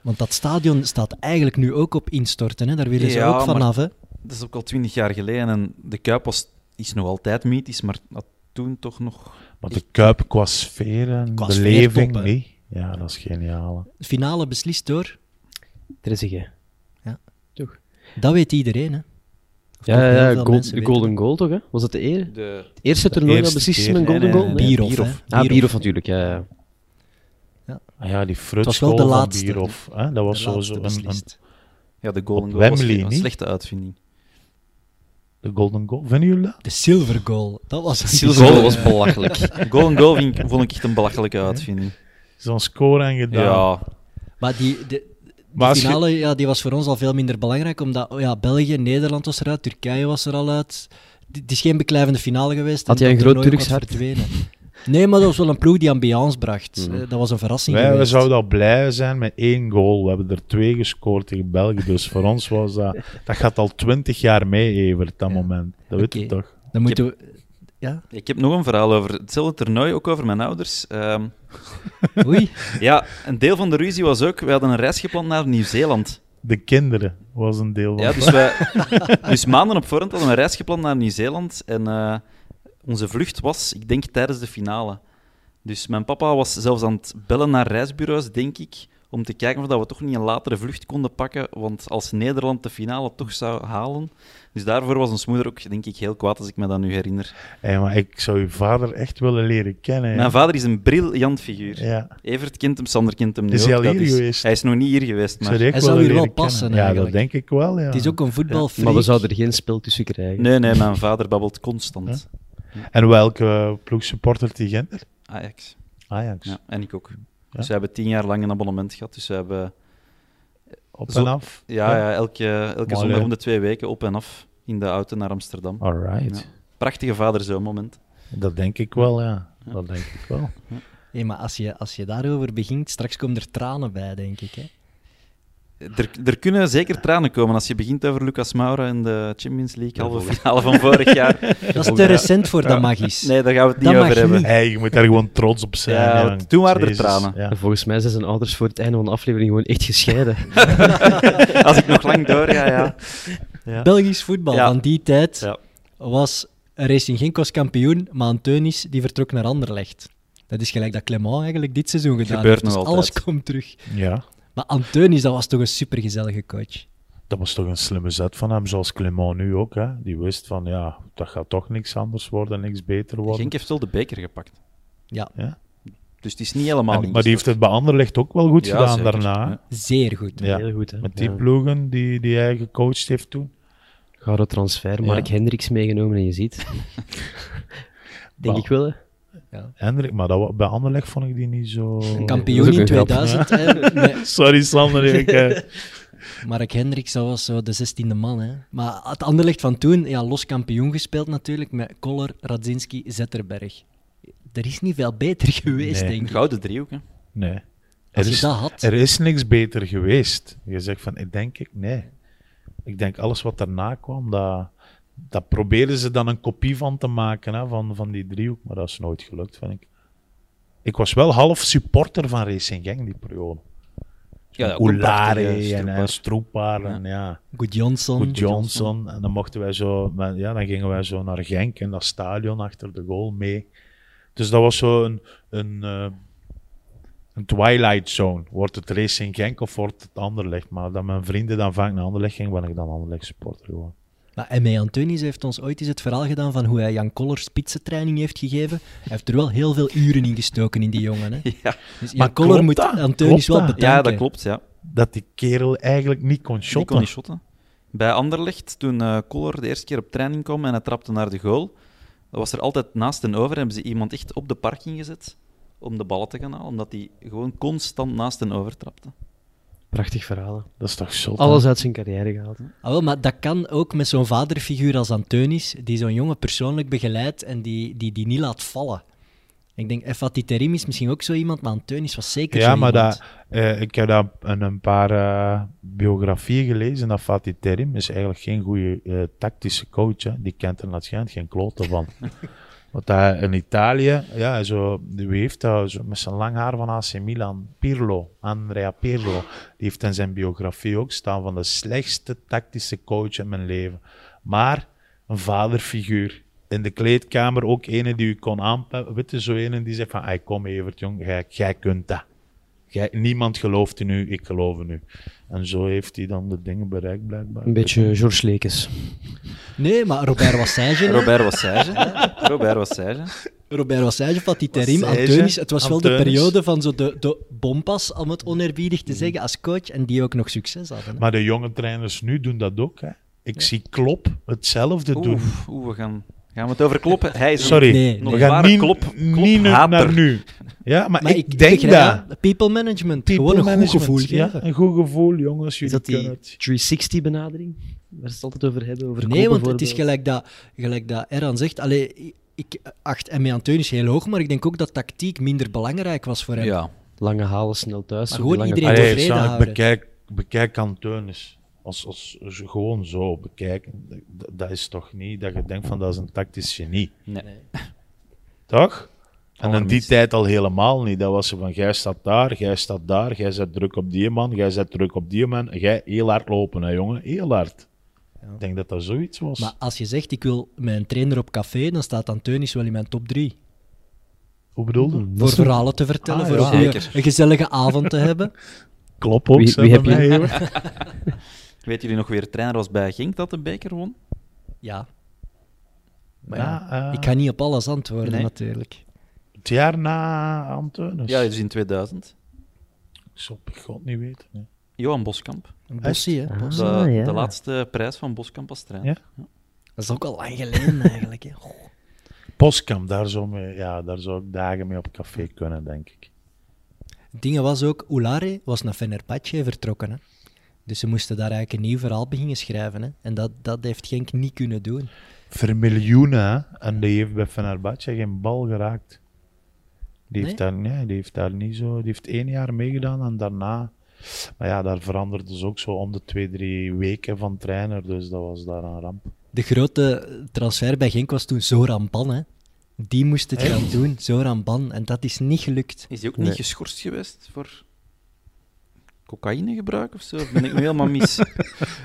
C: Want dat stadion staat eigenlijk nu ook op instorten. Hè? Daar willen ze
F: Ja,
C: ook
F: maar-
C: vanaf. Hè?
F: Dat is ook al twintig jaar geleden en de Kuip was, is nog altijd mythisch, maar had toen toch nog...
D: Want de Kuip qua sfeer en
C: Qua sfeer
D: beleving,
C: top, hè.
D: niet? Ja, dat is geniaal. hè.
C: Finale beslist door,
E: Trezeguet.
C: dat weet iedereen. Hè? Of
E: Ja,
C: toch
E: ja,
C: heel veel
E: Gold-
C: mensen
E: de
C: weten
E: Golden Goal toch? Hè? Was dat de eer? Het
F: De...
E: eerste toernooi dat
D: eerste
E: beslist
D: keer.
E: met een Golden
F: Nee, nee,
E: Goal?
F: nee.
C: Bierhof,
F: Bierhof.
C: hè.
E: Ah, Bierhof natuurlijk, ja. ja.
D: Ah ja, die
C: was wel
D: frutschool
C: de
D: van
C: laatste,
D: Bierhof. Hè? Dat was
C: de laatste
D: sowieso een, een,
C: beslist.
F: Ja, de
D: Op
F: Golden Goal was
D: Wembley,
F: een
D: niet?
F: slechte uitvinding.
D: de golden goal. Vinden jullie dat?
C: De silver goal, dat was een
F: Silver
C: bizarre-
F: Goal (laughs) was belachelijk. Golden Goal vind ik- vond ik echt een belachelijke uitvinding.
D: Zo'n score en gedaan.
F: Ja,
C: Maar die, de, de
D: Maar als je-
C: finale ja, die was voor ons al veel minder belangrijk, omdat oh ja, België, Nederland was eruit, Turkije was er al uit. D- Het is geen beklijvende finale geweest.
E: Had
C: en
E: jij een
C: dat
E: groot
C: toernooi
E: Turks
C: was verdwenen. Nee, maar dat was wel een ploeg die ambiance bracht.
E: Mhm.
C: Eh, Dat was een verrassing
D: Wij, we
C: geweest.
D: zouden al blij zijn met één goal. We hebben er twee gescoord tegen België. Dus voor ons was dat... Dat gaat al twintig jaar mee, Evert, dat moment. Dat weet je
C: Oké.
D: toch?
C: Dan moeten we... Ja?
F: ik heb nog een verhaal over hetzelfde toernooi, ook over mijn ouders. Ehm,
C: Oei.
F: ja, een deel van de ruzie was ook, we hadden een reis gepland naar Nieuw-Zeeland.
D: De kinderen was een deel van.
F: Ja, dus, wij,
D: (laughs)
F: dus maanden op voorhand hadden we een reis gepland naar Nieuw-Zeeland. En eh, onze vlucht was, ik denk, tijdens de finale. Dus mijn papa was zelfs aan het bellen naar reisbureaus, denk ik, om te kijken of dat we toch niet een latere vlucht konden pakken. Want als Nederland de finale toch zou halen. Dus daarvoor was ons moeder ook, denk ik, heel kwaad als ik me dat nu herinner.
D: Hé, maar ik zou uw vader echt willen leren kennen. hè.
F: Mijn vader is een briljant figuur.
D: Ja,
F: Evert kent hem, Sander kent hem nu
D: Is hij
F: ook,
D: al
F: dat
D: hier geweest?
F: Hij is nog niet hier geweest,
D: ik zou
F: maar...
D: die echt
C: Hij
D: willen
C: zou hier wel
D: leren
C: passen,
D: kennen. Ja, dat
C: eigenlijk.
D: denk ik wel, ja.
C: Het is ook een voetbalfreak.
E: Maar we zouden er geen spel tussen krijgen.
F: Nee, nee, mijn vader babbelt constant.
D: En welke ploeg supportert die Gent?
F: Ajax.
D: Ajax.
F: Ja, en ik ook. Dus we hebben tien jaar lang een abonnement gehad. Dus we hebben
D: Op
F: Zo-
D: en af.
F: ja, ja, elke, elke
D: Mooi,
F: zondag
D: hè? Ah.
F: om de twee weken op en af in de auto naar Amsterdam.
D: Alright.
F: Ja. Prachtige vader moment.
D: Dat denk ik wel, ja. Dat denk ik wel.
C: Hé, maar als je, als je daarover begint, straks komen er tranen bij, denk ik.
D: (laughs)
C: Hè?
F: Er, er kunnen zeker tranen komen als je begint over Lucas Moura in de Champions League halve finale van vorig
D: (laughs)
F: jaar.
C: Dat is te recent voor dat magisch.
F: Nee, daar gaan we het niet
C: Dat mag
F: over hebben.
C: niet.
D: Hey, je moet daar gewoon trots op zijn.
F: Ja,
D: hè,
F: want
D: jong.
F: toen waren er
D: Jezus,
F: tranen.
D: ja.
E: En volgens mij zijn zijn ouders voor het einde van de aflevering gewoon echt gescheiden.
F: (laughs) Als ik nog lang doorga, ja.
C: Belgisch voetbal
F: Ja.
C: van die tijd
F: Ja.
C: was Racing Genk was kampioen, maar Anteunis die vertrok naar Anderlecht. Dat is gelijk dat Clement eigenlijk dit seizoen gedaan
F: Gebeurt
C: heeft. Dus
F: nog
C: alles
F: altijd.
C: komt terug.
D: Ja.
C: Maar Anteunis, dat was toch een supergezellige coach.
D: Dat was toch een slimme zet van hem, zoals Clement nu ook. Hè? Die wist van, ja, dat gaat toch niks anders worden, niks beter worden.
F: Genk heeft wel de beker gepakt.
C: Ja,
F: Dus het is niet dus helemaal
D: En- maar die heeft
F: ingestort.
D: het bij Anderlecht ook wel goed
F: Ja,
D: gedaan
F: zeker.
D: daarna.
F: Ja.
C: zeer goed.
D: hè. Ja.
E: Heel goed, hè?
D: Met die
E: Ja.
D: ploegen die, die hij gecoacht heeft toen.
E: Gouden transfer, Mark
D: Ja.
E: Hendricks meegenomen en je ziet. Denk
D: Wauw.
E: ik wel, hè?
D: Hendrik, maar dat, wa- bij Anderlecht vond ik die niet zo...
C: Kampioen
E: Dat is
C: in
E: ook een grap.
C: 2000. hè, met
D: (laughs) Sorry Sander, ik, eh,
C: Mark Hendricks, dat was zo de zestiende man. Hè. Maar het Anderlecht van toen, ja, los kampioen gespeeld natuurlijk, met Koller, Radzinski, Zetterberg. Er is niet veel beter geweest,
D: Nee.
C: denk ik.
F: Gouden driehoek, hè.
D: Nee.
C: Als
D: Er
C: je
D: is,
C: dat had.
D: er is niks beter geweest. Je zegt van, ik denk ik, nee. Ik denk alles wat daarna kwam, dat, dat probeerden ze dan een kopie van te maken, hè, van, van die driehoek. Maar dat is nooit gelukt, vind ik. Ik was wel half supporter van Racing Genk die periode.
F: Ja, ja, ook een prachtige
D: Oulari en,
F: stroepaar.
D: en Stroepaar en ja,
C: Good Johnson.
D: Goed Johnson. En dan mochten wij zo, maar ja, dan gingen wij zo naar Genk en dat stadion achter de goal mee. Dus dat was zo een, een, eh, een twilight zone. Wordt het race in Genk of wordt het Anderlecht? Maar dat mijn vrienden dan vaak naar Anderlecht gingen, ben ik dan Anderlecht supporter gewoon.
C: Maar M.E. Nou, Antonis heeft ons ooit eens het verhaal gedaan van hoe hij Jan Koller spitsentraining heeft gegeven. Hij heeft er wel heel veel uren in gestoken in die jongen.
D: (laughs)
C: Hè?
F: (laughs) Ja.
C: Dus Jan
D: Maar
C: Koller
D: klopt
C: moet
D: dat?
C: Antonis
D: Klopt
C: wel
D: dat?
C: bedanken.
F: ja, dat klopt, ja.
D: Dat die kerel eigenlijk niet kon
F: Die kon
D: shotten.
F: niet shotten. Bij Anderlecht, toen eh Koller de eerste keer op training kwam en hij trapte naar de goal, dan was er altijd naast en over, hebben ze iemand echt op de parking gezet om de ballen te gaan halen, omdat hij gewoon constant naast en over trapte.
E: Prachtig verhaal. hè.
D: dat is toch zot. hè?
E: Alles uit zijn carrière gehaald. hè.
C: Ah, wel, maar dat kan ook met zo'n vaderfiguur als Antonis, die zo'n jongen persoonlijk begeleidt en die, die, die niet laat vallen. Ik denk, Fatih Terim is misschien ook zo iemand, maar Antonis was zeker
D: Ja,
C: zo
D: maar
C: iemand.
D: dat, eh, ik heb daar een, een paar eh, biografieën gelezen. Dat Fatih Terim is eigenlijk geen goede eh, tactische coach. Hè. Die kent er natuurlijk geen klote van. Want hij, in Italië, ja, zo, wie heeft dat zo, met zijn lang haar van AC Milan? Pirlo, Andrea Pirlo. Die heeft in zijn biografie ook staan van de slechtste tactische coach in mijn leven. Maar een vaderfiguur. In de kleedkamer ook ene die u kon aanpakken. Weet je, zo ene die zegt van, "Ai, kom Evert, jong, jij, jij kunt dat. Jij, niemand gelooft in u, ik geloof in u. En zo heeft hij dan de dingen bereikt, blijkbaar.
E: Een beetje Georges Lekes.
C: Nee, maar Robert Wassage.
D: (laughs)
C: hè?
F: Robert Wassage. (laughs) Robert Wassage.
C: Robert Wassage, Fatih Terim,
D: Wassage,
C: Antonis. Het was wel de
D: Antonis. Mm.
C: periode van zo de, de bompas, om het onerbiedig te zeggen, als coach. En die ook nog succes hadden. hè.
D: Maar de jonge trainers nu doen dat ook. Hè. Ik zie Klop hetzelfde doen.
F: Oeh, oeh, we gaan, gaan we het over kloppen. Hij is een-
D: Sorry,
C: Nee,
F: nog
D: we
C: nee.
F: een
D: gaan
F: ware
D: niet,
F: klop,
D: niet naar
F: klophater.
D: nu. Ja, maar,
C: Maar
D: ik, denk dat.
C: begrijp- People management,
D: People
C: gewoon een
D: management,
C: goed gevoel.
D: Ja,
C: geven.
D: een goed gevoel, jongens.
E: Is
D: Jullie
E: dat die
D: kunnen het.
E: 360-benadering? Waar ze het altijd over hebben? Over
C: Nee,
E: Kool
C: want het is
E: bijvoorbeeld.
C: gelijk dat, gelijk dat Eran zegt. Allee, ik acht M.E. Antonis heel hoog, maar ik denk ook dat tactiek minder belangrijk was voor hem.
F: Ja,
E: Lange halen, snel thuis.
C: Maar
E: zo die
C: gewoon
E: lange
C: iedereen
E: ballen.
D: Allee,
C: tevreden
D: Sjaak,
C: houden.
D: bekijk, bekijk Antonis. Als, als, als je gewoon zo bekijken. Dat, dat is toch niet dat je denkt van dat is een tactisch genie.
F: nee.
D: Toch? En in die
F: Allerminst.
D: tijd al helemaal niet. Dat was ze van, jij staat daar, jij staat daar, jij zet druk op die man, jij zet druk op die man. En Jij heel hard lopen, hè jongen, heel hard. Ik denk dat dat zoiets was.
C: Maar als je zegt, ik wil mijn trainer op café, dan staat Antonis wel in mijn top drie.
D: Hoe bedoelde?
C: Voor verhalen te vertellen,
D: Ah,
C: voor
D: ja.
C: een goeie-
F: Zeker.
C: een gezellige avond
D: (laughs)
C: te hebben.
D: Klopt ook,
E: Wie-
D: hè,
E: wie
D: bij
E: heb
D: mij,
E: je?
D: hoor.
F: Weet jullie nog weer, de trainer was bij Genk dat de beker won?
C: Ja, Maar
D: Na, eh,
C: ik ga niet op alles antwoorden
F: Nee.
C: natuurlijk.
D: Het jaar na Antonis.
F: Ja, dus in 2000.
D: Zo, ik god niet weten. nee.
F: Johan Boskamp.
C: Bossie, hè?
F: De,
C: Bos.
E: Ah, ja.
F: de laatste prijs van Boskamp als trainer.
D: Ja.
C: Dat is ook al lang geleden eigenlijk. Hè. Goh.
D: Postkamp, daar zou, mee, ja, daar zou ik dagen mee op café kunnen, denk ik.
C: Het ding was ook, Oulare was naar Fenerbahce vertrokken. Hè. Dus ze moesten daar eigenlijk een nieuw verhaal beginnen schrijven. Hè. En dat, dat heeft Genk niet kunnen doen.
D: Vermiljoenen, hè. En die heeft bij Fenerbahce geen bal geraakt. Die heeft,
C: Nee?
D: daar, nee, die heeft daar niet zo... Die heeft één jaar meegedaan en daarna... Maar ja, daar veranderde ze ook zo om de twee, drie weken van trainer. Dus dat was daar een ramp.
C: De grote transfer bij Genk was toen Zoran Ban. Hè. Die moest het gaan doen, Zoran Ban. En dat is niet gelukt.
F: Is hij ook niet
E: Nee.
F: geschorst geweest voor cocaïnegebruik of zo? Of ben ik nu helemaal (laughs) mis?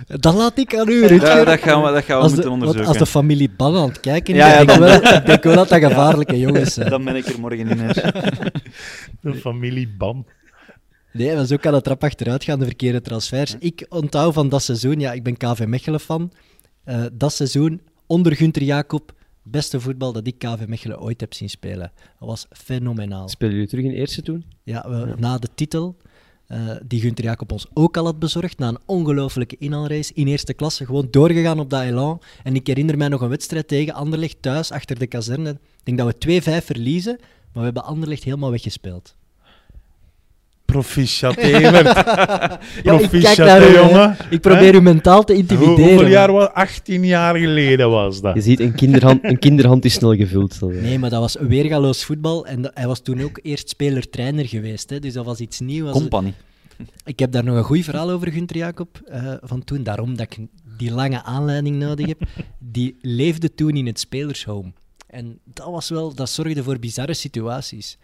C: Dat laat ik aan u, Rutger.
F: Ja, dat gaan we, dat gaan we
C: als, de,
F: moeten
C: want
F: onderzoeken.
C: als de familie Ban aan het kijken is,
F: Ja, ja,
C: denk, ik
F: dan-
C: wel, ik denk wel dat dat gevaarlijke jongens zijn.
F: Dan ben ik er morgen in.
C: (laughs)
F: hè.
D: De familieband.
C: Nee, maar zo kan het rap achteruit gaan, de verkeerde transfers. Ik onthoud van dat seizoen, ja, ik ben KV Mechelen fan. eh, dat seizoen, onder Gunther Jacob, beste voetbal dat ik KV Mechelen ooit heb zien spelen. Dat was fenomenaal.
E: Spelen jullie terug in eerste toen?
C: Ja, we- na de titel, eh, die Gunther Jacob ons ook al had bezorgd, na een ongelofelijke inhaalrace in eerste klasse, gewoon doorgegaan op dat elan. En ik herinner mij nog een wedstrijd tegen Anderlecht thuis, achter de kazerne. Ik denk dat we 2-5 verliezen, maar we hebben Anderlecht helemaal weggespeeld.
D: Proficiat, Evert. Proficiat,
C: u,
D: hè,
C: hè.
D: jongen.
C: Ik probeer
D: Hè?
C: u mentaal te
D: Hoe-
C: intimideren.
D: hoeveel jaar was 18 jaar geleden was dat.
E: Je ziet, een kinderhand, een kinderhand is snel gevuld. dat, eh.
C: Nee, maar dat was weergaloos voetbal. En dat- hij was toen ook eerst speler-trainer geweest. Hè, dus dat was iets nieuws. Was-
F: Company.
C: Ik heb daar nog een goed verhaal over, Gunther Jacob, eh, van toen. Daarom dat ik die lange aanleiding nodig heb. Die leefde toen in het spelershome. En dat was wel, dat zorgde voor bizarre situaties.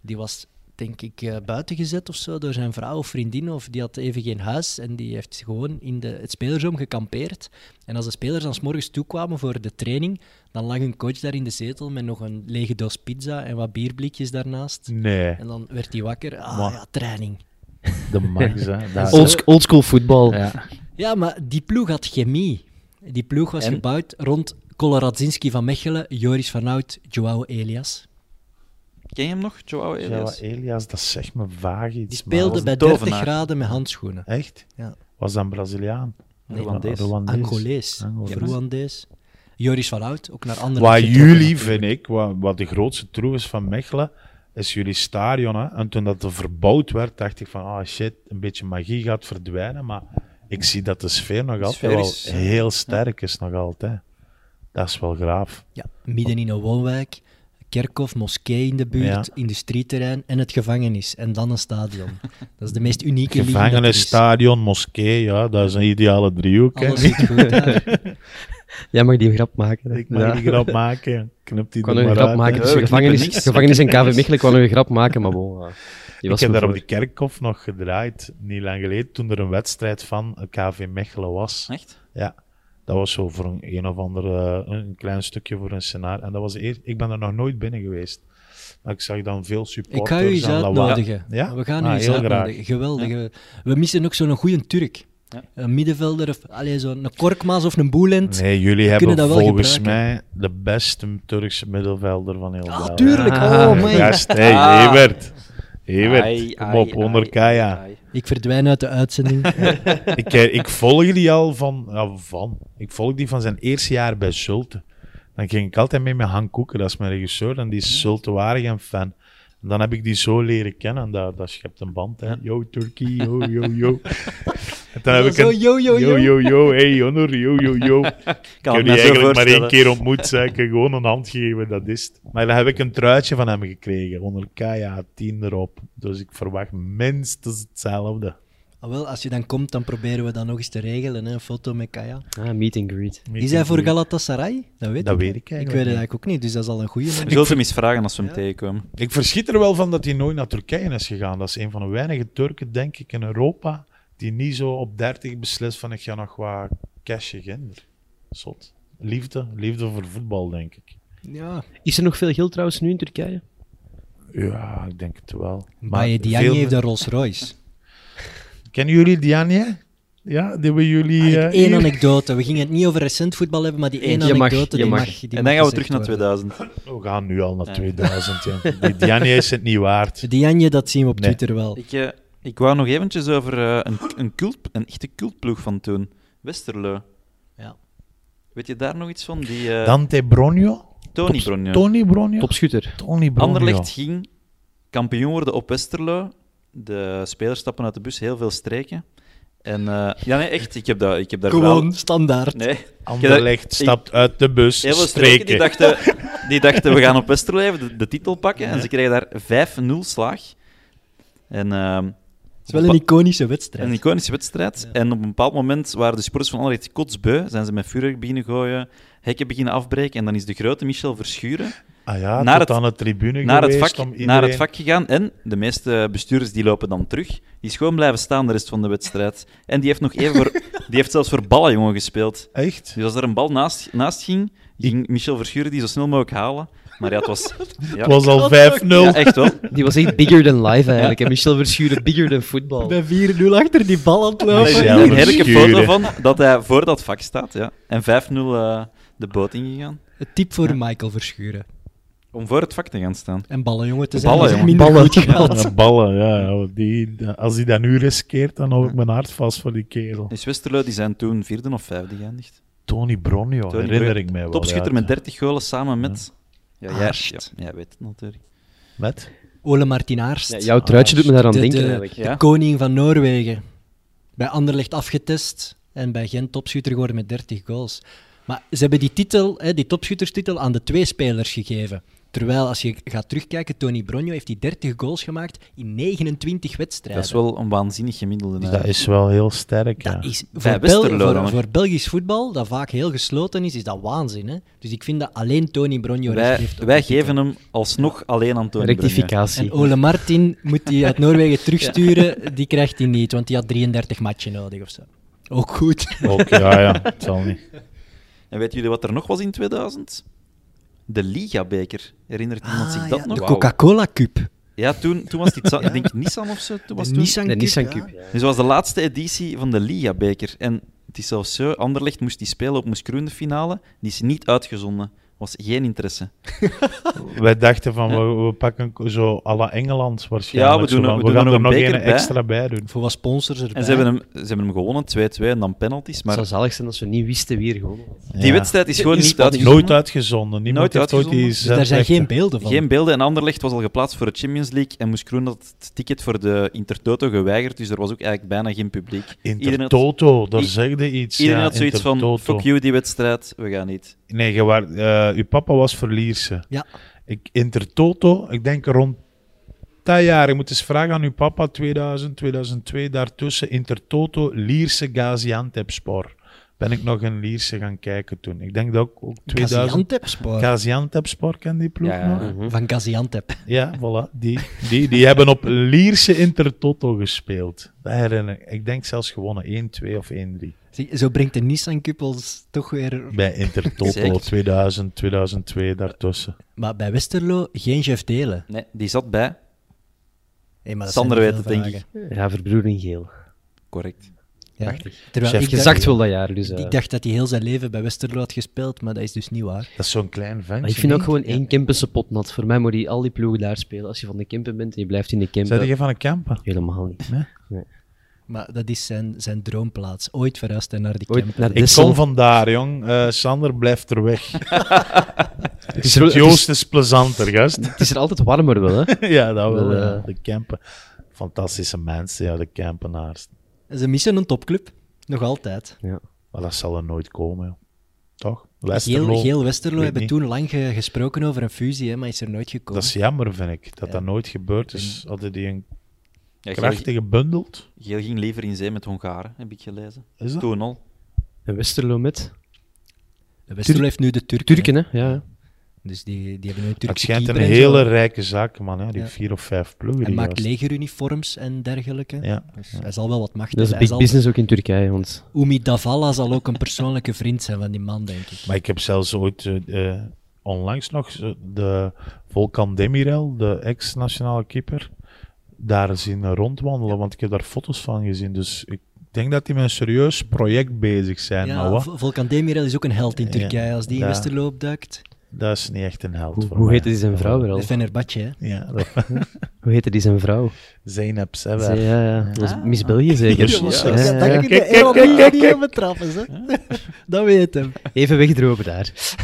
C: Die was denk ik, eh, buiten gezet of zo door zijn vrouw of vriendin. Of die had even geen huis en die heeft gewoon in de, het spelersroom gekampeerd. En als de spelers dan 's morgens toekwamen voor de training, dan lag hun coach daar in de zetel met nog een lege doos pizza en wat bierblikjes daarnaast.
D: Nee,
C: En dan werd hij wakker. Ah
D: Maar-
C: ja, training.
D: de max, (laughs) hè.
C: Ons-
D: Dat-
E: Oldschool school voetbal.
D: Ja.
C: Ja, maar die ploeg had chemie. Die ploeg was
E: En?
C: gebouwd rond Koloradzinski van Mechelen, Joris van Hout, Joao Elias.
F: Ken je hem nog, Joao Elias?
D: Joao Elias, dat zegt me vaag iets.
C: Die
D: maar-
C: speelde
F: was
C: bij
F: een
C: 30
F: tovenaar.
C: graden met handschoenen.
D: Echt?
C: Ja.
D: Was dat een Braziliaan?
C: Nee.
F: Rwandees.
D: Rwandees.
C: Angolees,
D: Angolees.
C: Rwandees. Joris van Hout, ook naar andere
D: Wat
C: getrokken.
D: jullie, vind ik, wat, wat de grootste troef is van Mechelen, is jullie stadion. Hè? En toen dat er verbouwd werd, dacht ik van, ah shit, een beetje magie gaat verdwijnen. Maar ik zie dat de sfeer nog altijd
F: sfeer
D: wel
F: is, ja.
D: heel sterk is, nog altijd. Dat is wel graaf.
C: Ja, midden in een woonwijk, kerkhof, moskee in de buurt,
D: Ja.
C: industrieterrein en het gevangenis. En dan een stadion. Dat is de meest unieke linie dat er
D: Gevangenis,
C: is.
D: stadion, moskee, ja, dat is een ideale driehoek. hè.
C: Alles zit goed daar.
E: Jij mag die grap maken. hè.
D: Ik mag
E: Ja.
D: die grap maken, knip die
E: Ik kon
D: er
E: nog een
D: maar
E: grap
D: uit,
E: maken
D: hè.
F: Ja,
E: tussen
F: we knippen
E: gevangenis,
F: niks.
E: gevangenis en KV Mechelen. Ik kon nog een grap maken, maar bon. ja. Die was
D: ik heb daar op de
E: bijvoorbeeld-
D: kerkhof nog gedraaid, niet lang geleden, toen er een wedstrijd van KV Mechelen was.
F: Echt?
D: Ja, dat was zo voor een, een of ander, eh, een klein stukje voor een scenario. En dat was de eer- ik ben er nog nooit binnen geweest. Maar ik zag dan veel
C: Ik ga u
D: supporters
C: eens
D: en lawaai.
C: uitnodigen.
D: Ja?
C: We gaan u
D: Ah,
C: eens
D: heel graag.
C: uitnodigen. Geweldig. We- We missen ook zo'n goede Turk.
F: Ja.
C: Een middenvelder of allee, zo'n Korkmaas of een Boelend.
D: Nee, jullie
C: kunnen
D: hebben
C: dat wel
D: volgens
C: gebruiken.
D: mij de beste Turkse middenvelder van heel
C: Ah,
D: België.
C: tuurlijk.
E: Ah,
C: oh, man.
D: Gast, hey,
F: Ah.
D: Evert. Evert,
F: Ai,
D: kom
F: ai,
D: op, 100 k
F: ai,
D: ja.
F: ai.
C: Ik verdwijn uit de uitzending.
D: ik, eh, ik volg die al van, ja, van. Ik volg die van zijn eerste jaar bij Zulte. Dan ging ik altijd mee met Han Koeken, dat is mijn regisseur, en die
C: Mm.
D: is Zulte Waregem fan. En dan heb ik die zo leren kennen, en dat, dat schept een band, hè. Yo, Turkey, yo, yo,
C: (laughs)
D: yo. En (laughs) dan heb ik
C: Zo,
D: een...
C: yo, yo,
D: Yo,
C: yo.
D: yo, yo, hey, honor, yo, yo, yo.
F: Ik
D: Ik
F: kan het
D: heb
F: mij
D: die
F: zo
D: eigenlijk maar één
F: voorstellen.
D: keer ontmoet, zei ik. Gewoon een hand geven, dat is het. Maar dan heb ik een truitje van hem gekregen. 100k, ja, 10 erop. Dus ik verwacht minstens hetzelfde.
C: Ah, wel, als je dan komt, dan proberen we dat nog eens te regelen. Hè? Een foto met Kaya.
E: Ah, meet and greet.
C: Is hij voor Galatasaray? Dat weet
D: Dat
C: ik
D: weet
C: niet. Ik
D: ik eigenlijk
C: weet het
D: niet.
C: eigenlijk ook niet, dus dat is al een goede.
F: Je zult hem eens vragen als we hem tegenkomen.
D: Ik verschiet er wel van dat hij nooit naar Turkije is gegaan. Dat is een van de weinige Turken, denk ik, in Europa die niet zo op 30 beslist van ik ga nog wat cashje ginder. Zot. Liefde, liefde voor voetbal, denk ik.
C: Ja,
E: Is er nog veel geld trouwens nu in Turkije?
D: Ja, ik denk het wel.
C: Baye Diagne
D: veel-
C: heeft een Rolls Royce.
D: Kennen jullie Dianje? Ja, die hebben jullie...
C: Ah,
D: eh,
C: Eén
D: hier.
C: anekdote. We gingen het niet over recent voetbal hebben, maar die één
E: Je mag,
C: anekdote
E: je
C: die
E: mag.
C: mag. die
F: en
C: mag
F: dan gaan we
C: gezegd
F: terug naar
C: worden.
F: 2000.
D: We gaan nu al naar
F: Ja. (laughs)
D: 2000. Ja. Die Dianje is het niet waard.
C: Diagne, dat zien we op
D: Nee.
C: Twitter wel.
F: Ik, eh, ik wou nog eventjes over eh, een, een, cult, een echte cultploeg van toen. Westerlo.
C: Ja.
F: Weet je daar nog iets van? Die eh
D: Dante Bronio?
F: Tony
D: Tops-
F: Bronjo.
D: Tony Bronio?
E: Topschutter.
D: Tony Bronio.
F: Anderlecht ging kampioen worden op Westerlo. De spelers stappen uit de bus, heel veel streken. En, eh, ja, nee, echt. Ik heb, dat, ik heb daar
C: Gewoon
F: verhaal-
C: standaard.
F: Nee, ik heb daar-
D: Anderlecht
F: ik-
D: stapt uit de bus.
F: Heel veel streken
D: streken.
F: die dachten, die dachten, we gaan op Westerlo even de, de titel pakken. En ze kregen daar 5-0 slaag. En, ehm,
C: Het is wel een iconische wedstrijd.
F: een iconische wedstrijd. En op een bepaald moment waren de sports van Anderlecht kotsbeu. Zijn ze met vuurwerk beginnen gooien, hekken beginnen afbreken. En dan is de grote Michel Verschuren
D: Ah ja,
F: Naar
D: tot
F: het-
D: aan de tribune
F: naar het,
D: geweest
F: vak,
D: om iedereen...
F: naar het vak gegaan. En de meeste bestuurders die lopen dan terug. Die is gewoon blijven staan de rest van de wedstrijd. En die heeft, nog even voor, die heeft zelfs voor ballenjongen gespeeld.
D: Echt?
F: Dus als er een bal naast, naast ging, ging Michel Verschuren die zo snel mogelijk halen. Maar ja, het was... (laughs) Ja,
D: Het was al 5-0.
F: ja, echt wel.
E: Die was echt bigger than life eigenlijk. En Michel Verschuren, bigger than voetbal.
C: Bij 4-0 achter die bal aan het
D: Nee,
C: lopen.
F: Er
D: ja.
F: is een
D: Verschuren.
F: heerlijke foto van dat hij voor dat vak staat. Ja. En 5-0 eh, de boot ingegaan.
C: Een tip voor Michael Verschuren.
F: Om voor het vak te gaan staan.
C: En ballen, jongen, te
F: De
C: zijn.
F: ballen,
C: dat is
F: jongen.
C: minder
E: Ballen.
C: goed gehaald.
D: Ja, ballen, ja. Die, als hij dat nu riskeert, dan hou ik mijn hart vast voor die kerel.
F: Dus Westerlo die zijn toen vierde of vijfde geëindigd.
D: Tony Bronjo,
F: Tony
D: herinner
F: Breu-
D: ik mij wel.
F: Topschutter
D: ja.
F: met 30 golen samen met... Ja, jij, ja,
C: Arst.
F: jij weet het natuurlijk.
D: Met?
C: Ole Martin Aarst.
E: Ja, jouw truitje doet me daaraan
C: de-
E: denken
C: de-
E: eigenlijk.
F: Ja.
C: Koning van Noorwegen. Bij Anderlecht afgetest en bij Gent topschutter geworden met 30 goals. Maar ze hebben die titel, hè, die topschutterstitel, aan de twee spelers gegeven. Terwijl, als je gaat terugkijken, Tony Bronjo heeft die 30 goals gemaakt in 29 wedstrijden.
F: Dat is wel een waanzinnig gemiddelde.
D: Dus dat
F: eigenlijk.
D: is wel heel sterk.
C: Dat
D: ja.
C: is
F: Bij
C: voor, Bel-
F: Westerlo
C: voor-
F: dan, hè?
C: voor Belgisch voetbal, dat vaak heel gesloten is, is dat waanzin. Hè? Dus ik vind dat alleen Tony Bronjo recht
F: Wij,
C: heeft op
F: wij
C: die titel.
F: geven hem alsnog alleen aan Tony Brugge.
E: Rectificatie.
C: En Ole Martin moet
F: (laughs)
C: die uit Noorwegen terugsturen, die krijgt hij niet, want die had 33 matchen nodig of zo. Ook
F: Oh,
C: goed.
D: Ook, ja, ja, het zal niet.
F: En weten jullie wat er nog was in 2000? De Liga-beker. Herinnert iemand zich dat nog?
C: Ah, de Coca-Cola Cup.
F: Ja, toen, toen was dit, ik denk Nissan of zo. Toen was
C: De
F: toen...
C: Nissan
E: De
C: Cup.
E: Nissan
C: ja.
E: Cup.
F: Dus dat was de laatste editie van de Liga-beker. En het is zelfs zo, Anderlecht moest die spelen op Moes Kroen de finale. Die is niet uitgezonden. Was geen interesse.
D: Wij dachten van, we, we pakken zo à la Engeland waarschijnlijk.
F: Ja, we doen
D: zo
F: er-
D: van,
F: we doen
D: gaan
F: er een
D: nog
F: beker
D: één
F: bij.
D: extra bij doen.
C: Voor wat sponsors erbij.
F: En ze hebben hem, ze hebben hem gewonnen, 2-2 en dan penalties.
E: Het
F: Maar
E: zou zalig zijn als we niet wisten wie er gewonnen had.
F: die wedstrijd is gewoon
E: Is
F: niet
E: dat
F: uitgezonden.
D: Nooit uitgezonden. Niemand
F: Nooit
D: heeft ooit die
F: uitgezonden.
C: dus daar zijn geen
D: zendrechten.
C: beelden van.
F: Geen beelden. En Anderlecht was al geplaatst voor de Champions League. En Moes Kroen had het ticket voor de Intertoto geweigerd. Dus er was ook eigenlijk bijna geen publiek. Iedereen had,
D: Intertoto, daar
F: I-
D: zegde iets.
F: iedereen
D: ja,
F: had zoiets van,
D: Intertoto.
F: fuck you, die wedstrijd. We gaan niet.
D: Nee, je waar, eh, uw papa was verlierse.
C: Ja.
D: Ik, Intertoto, ik denk rond dat jaar. Je moet eens vragen aan uw papa, 2000, 2002, daartussen. Intertoto, Lierse, Gaziantep Spor. Ben ik nog in Lierse gaan kijken toen. Ik denk dat ook, ook 2000...
C: Gaziantep Sport.
D: Gaziantep Spor, ken die ploeg
F: Ja.
D: nog?
E: Mhm.
C: van Gaziantep.
D: Ja, voilà. Die, die, die (laughs) hebben op Lierse Intertoto gespeeld. Dat herinner ik. Ik denk zelfs gewonnen 1-2 of 1-3.
C: Zie, Zo brengt de Nissan Cup ons toch weer...
D: Bij Intertoto
F: Zeker.
D: 2000, 2002, daartussen.
C: Maar bij Westerlo geen Jeff Delen.
F: Nee, die zat bij.
C: Hey, maar dat
F: Sander
C: zijn
F: weet het,
C: veel
F: denk
C: vragen.
E: Mhm. Ja, verbroedering geel.
F: Correct.
C: Ja.
E: Prachtig.
C: Terwijl
D: Jeff
C: ik dacht-
E: Gezakt wel dat jaar, dus. eh.
C: Ik dacht dat hij heel zijn leven bij Westerlo had gespeeld, maar dat is dus niet waar.
D: Dat is zo'n klein ventje.
E: Maar ik vind ook gewoon
D: één.
E: één Kempense pot nat. Voor mij moet die al die ploegen daar spelen. Als je van de Kempen bent en je blijft in de
D: Zijn
E: Kempen.
D: jij van een camper?
E: Helemaal niet.
C: Maar dat is zijn, zijn droomplaats. Ooit verhuisd hij naar die
E: Ooit
C: Kempen.
E: naar
D: Ik
E: Dessel.
D: kom vandaar, jong. Eh, Sander blijft er
E: (laughs)
D: weg. (laughs)
E: Het is, er, het, is,
D: Joost is plezanter,
E: (laughs)
D: gast.
E: het is er altijd warmer wel, hè?
D: ja, dat wel.
E: Wel,
D: ja.
E: eh.
D: De campen. Fantastische mensen, ja, de campenaars.
C: Ze missen een topclub. Nog altijd.
D: Maar dat zal er nooit komen, joh. toch?
C: Geel,
D: Westerlo.
C: Geel Westerlo
D: Weet
C: hebben
D: niet.
C: toen lang ge- gesproken over een fusie, hè, maar is er nooit gekomen.
D: Dat is jammer, vind ik, dat
C: Ja.
D: dat nooit gebeurd is. Hadden die een
F: Ja, Geel,
D: krachtige bundelt?
F: Geel ging liever in zee met Hongaren, heb ik gelezen.
D: Is dat?
F: Toen al.
E: En Westerlo met
C: Westerlo heeft nu de Turken.
E: Turken, hè? Ja, ja.
C: hè. Dus die, die hebben nu een
D: Het
C: Turkse
D: schijnt een
C: keeper en zo.
D: hele rijke zaak, man. Hè? Die
C: Ja.
D: vier of vijf ploegen.
C: Hij
D: die
C: maakt
D: gast.
C: legeruniforms en dergelijke.
D: Ja.
C: Dus hij zal wel wat macht
E: Dat is
C: hebben.
E: big
C: Hij zal-
E: business ook in Turkije. Want
C: Umi Davala zal ook een persoonlijke vriend zijn van die man, denk ik.
D: Maar ik heb zelfs ooit, eh, eh, onlangs nog, zo- de Volkan Demirel, de ex-nationale keeper, daar zien rondwandelen. Want ik heb daar foto's van gezien. Dus ik denk dat die met een serieus project bezig zijn. maar
C: Ja,
D: wat?
C: Vol- Volkan Demirel is ook een held in
D: Ja.
C: Turkije. Als die in
D: Ja.
C: Westerlo opduikt.
D: Dat is niet echt een held
E: hoe,
D: voor
E: hoe
D: mij.
E: heette die zijn vrouw weer al?
C: De Fenerbahce, hè.
D: Ja, dat- (laughs)
E: Hoe heette die zijn vrouw?
D: Zeynep
E: Zij,
D: Sever.
E: ja, ja. Dat is Miss (laughs) België zeker.
D: Ja,
E: Ja,
D: dat-
E: ja, ja.
C: kun je ironie niet hebben trappen, hè. (laughs) Dat weet hem.
E: Even wegdropen daar.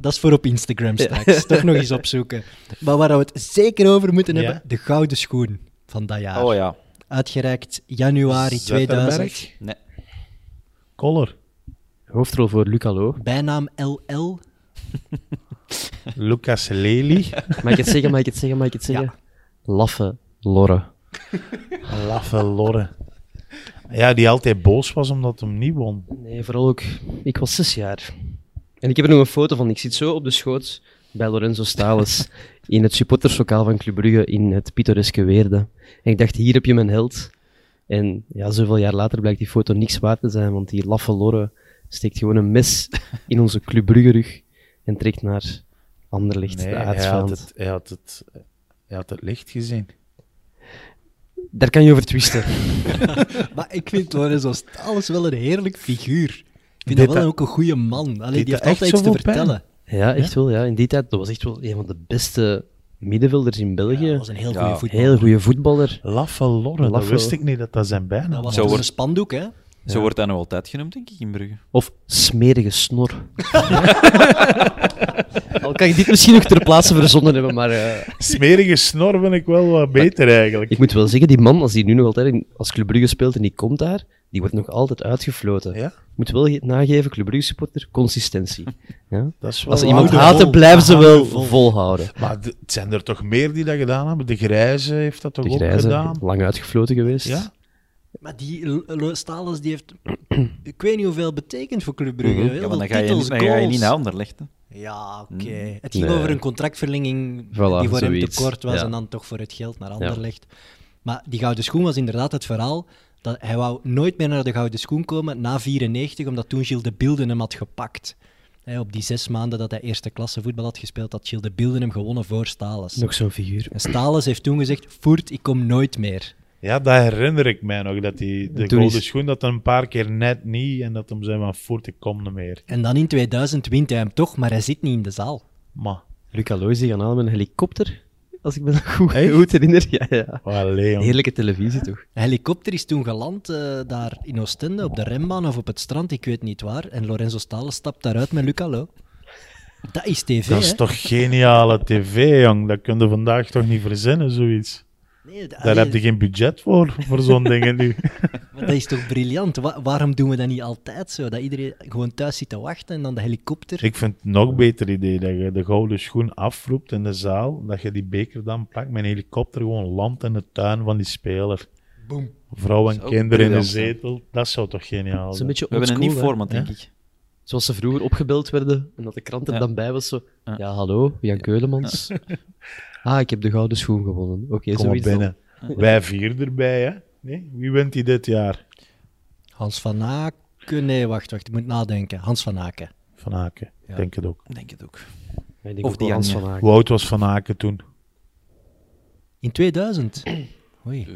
C: Dat is voor op Instagram straks. Toch nog eens opzoeken. Maar waar we het zeker over moeten
D: Ja.
C: hebben, de gouden schoen van dat jaar.
F: Oh ja.
C: Uitgereikt januari
D: Zetterberg.
C: 2000.
F: Nee.
D: Koller.
E: Hoofdrol voor Luca Lo.
C: Bijnaam LL.
D: Lucas Lely.
E: Mag ik het zeggen, mag ik het zeggen, mag ik het zeggen? Laffe Lorre.
D: Laffe Lorre. Ja, die altijd boos was omdat hem niet won.
E: Nee, vooral ook. Ik was zes jaar. En ik heb er nog een foto van. Ik zit zo op de schoot bij Lorenzo Stalens in het supporterslokaal van Club Brugge in het pittoreske Weerde. En ik dacht, hier heb je mijn held. En ja, zoveel jaar later blijkt die foto niks waard te zijn, want die laffe lorre steekt gewoon een mes in onze Club Brugge rug en trekt naar Anderlicht,
D: Nee,
E: de
D: hij had,
E: aardsvijand.
D: het, hij, had het, hij had het licht gezien.
E: Daar kan je over twisten.
C: Maar ik vind Lorenzo Stalens wel een heerlijk figuur. Ik vind
D: Deed
C: dat wel
D: dat-
C: ook een goede man. Allee,
D: deed
C: die heeft
D: dat echt
C: altijd iets te
D: zoveel pijn?
C: vertellen.
E: ja, echt wel. Ja. In die tijd, dat was echt wel een van de beste middenvelders in België.
C: Ja, dat was een heel
F: Ja,
C: goede voetbal.
E: Heel goede voetballer.
D: Laffe Lorre, dat
E: Laffe.
D: wist ik niet dat dat zijn bijnaam
C: Dat was
F: Zo
C: dus een
F: wordt-
C: spandoek, hè?
F: Zo wordt hij nog altijd genoemd, denk ik, in Brugge.
E: Of smerige snor. (laughs) Al kan ik dit misschien nog ter plaatse verzonnen hebben, maar... eh,
D: (laughs) Smerige snor ben ik wel wat beter eigenlijk.
E: Ik moet wel zeggen, die man, als die nu nog altijd in, als Club Brugge speelt en die komt daar, die wordt nog altijd uitgefloten.
D: Ja?
E: Ik moet wel ge- nageven, Club Brugge supporter, consistentie. Ja?
D: Dat is wel
E: Als ze
D: waar.
E: iemand
D: Houden
E: haten,
D: vol.
E: blijven ze
D: Houden
E: wel
D: vol.
E: volhouden.
D: Maar de- het zijn er toch meer die dat gedaan hebben? De Grijze heeft dat toch
E: De
D: ook
E: grijze,
D: gedaan?
E: lang uitgefloten geweest.
D: Ja?
C: Maar die L- Lo- Stalens, die heeft... ik weet niet hoeveel betekent voor Club Brugge. Heel
F: Mhm. Ja,
C: veel
F: maar dan ga je,
C: titels,
F: niet- dan ga je
C: goals.
F: niet naar Anderlecht. hè.
C: Ja, oké.
F: Hmm.
C: Het ging
E: Mm, Nee.
C: over een contractverlenging
E: Voilà,
C: die voor hem
E: zoiets.
C: tekort was
E: Ja.
C: en dan toch voor het geld naar Anderlecht. Maar die gouden schoen was inderdaad het verhaal. Dat hij wou nooit meer naar de gouden schoen komen na 94, omdat toen Gilles de Bilden hem had gepakt. Hè, op die zes maanden dat hij eerste klasse voetbal had gespeeld, had Gilles de Bilden hem gewonnen voor Stalens.
E: Nog zo'n figuur.
C: En Stalens heeft toen gezegd, voert, ik kom nooit meer.
D: ja, dat herinner ik mij nog. Dat die, de
E: Toen is-
D: Golden Schoen, dat een paar keer net niet. En dat hem zei van, voort, ik kom niet meer.
C: En dan in 2000 wint hij hem toch, maar hij zit niet in de zaal.
D: Maar,
E: Luca Loisi gaan halen met een helikopter, als ik me dat goed,
D: Echt?
E: goed herinner. Ja, ja.
D: allee, jong.
E: Heerlijke televisie toch?
C: Een helikopter is toen geland eh, daar in Oostende, op de rembaan of op het strand, ik weet niet waar. En Lorenzo Stalen stapt daaruit met Luca Lo. Dat is tv,
D: Dat is
C: hè?
D: toch geniale tv, jong. Dat kun je vandaag toch niet verzinnen, zoiets.
C: Nee, d-
D: Daar
C: allee,
D: heb je geen budget voor, voor zo'n (laughs) dingen nu.
C: maar dat is toch briljant? Wa- waarom doen we dat niet altijd zo? Dat iedereen gewoon thuis zit te wachten en dan de helikopter...
D: Ik vind het een nog beter idee dat je de gouden schoen afroept in de zaal, dat je die beker dan pakt met een helikopter gewoon landt in de tuin van die speler. Vrouw en
F: Zo,
D: kinderen in de
F: briljant, hè.
D: zetel, dat zou toch geniaal
E: Dat is een
D: zijn?
E: beetje
F: We hebben een nieuw
E: oldschool, hè.
F: format, denk ik.
E: Zoals ze vroeger opgebeld werden en dat de krant er
F: Ja.
E: dan bij was. Zo, ja.
F: Ja.
E: hallo, Jan Keulemans. (laughs) Ah, ik heb de gouden schoen gewonnen. Oké,
D: Kom maar
E: zoiets dan.
D: binnen. Wij vier erbij, hè? Nee? Wie wint die dit jaar?
C: Hans van Aken... Nee, wacht, wacht. Ik moet nadenken. Hans van Aken.
D: Van Aken,
F: Ja.
D: denk het ook.
F: Ik Denk het ook.
E: Ja, ik denk
F: Of
E: ook
F: die
E: wel Hans
F: Anja.
E: van Aken.
D: Hoe oud was Van Aken toen?
C: In 2000. Oei.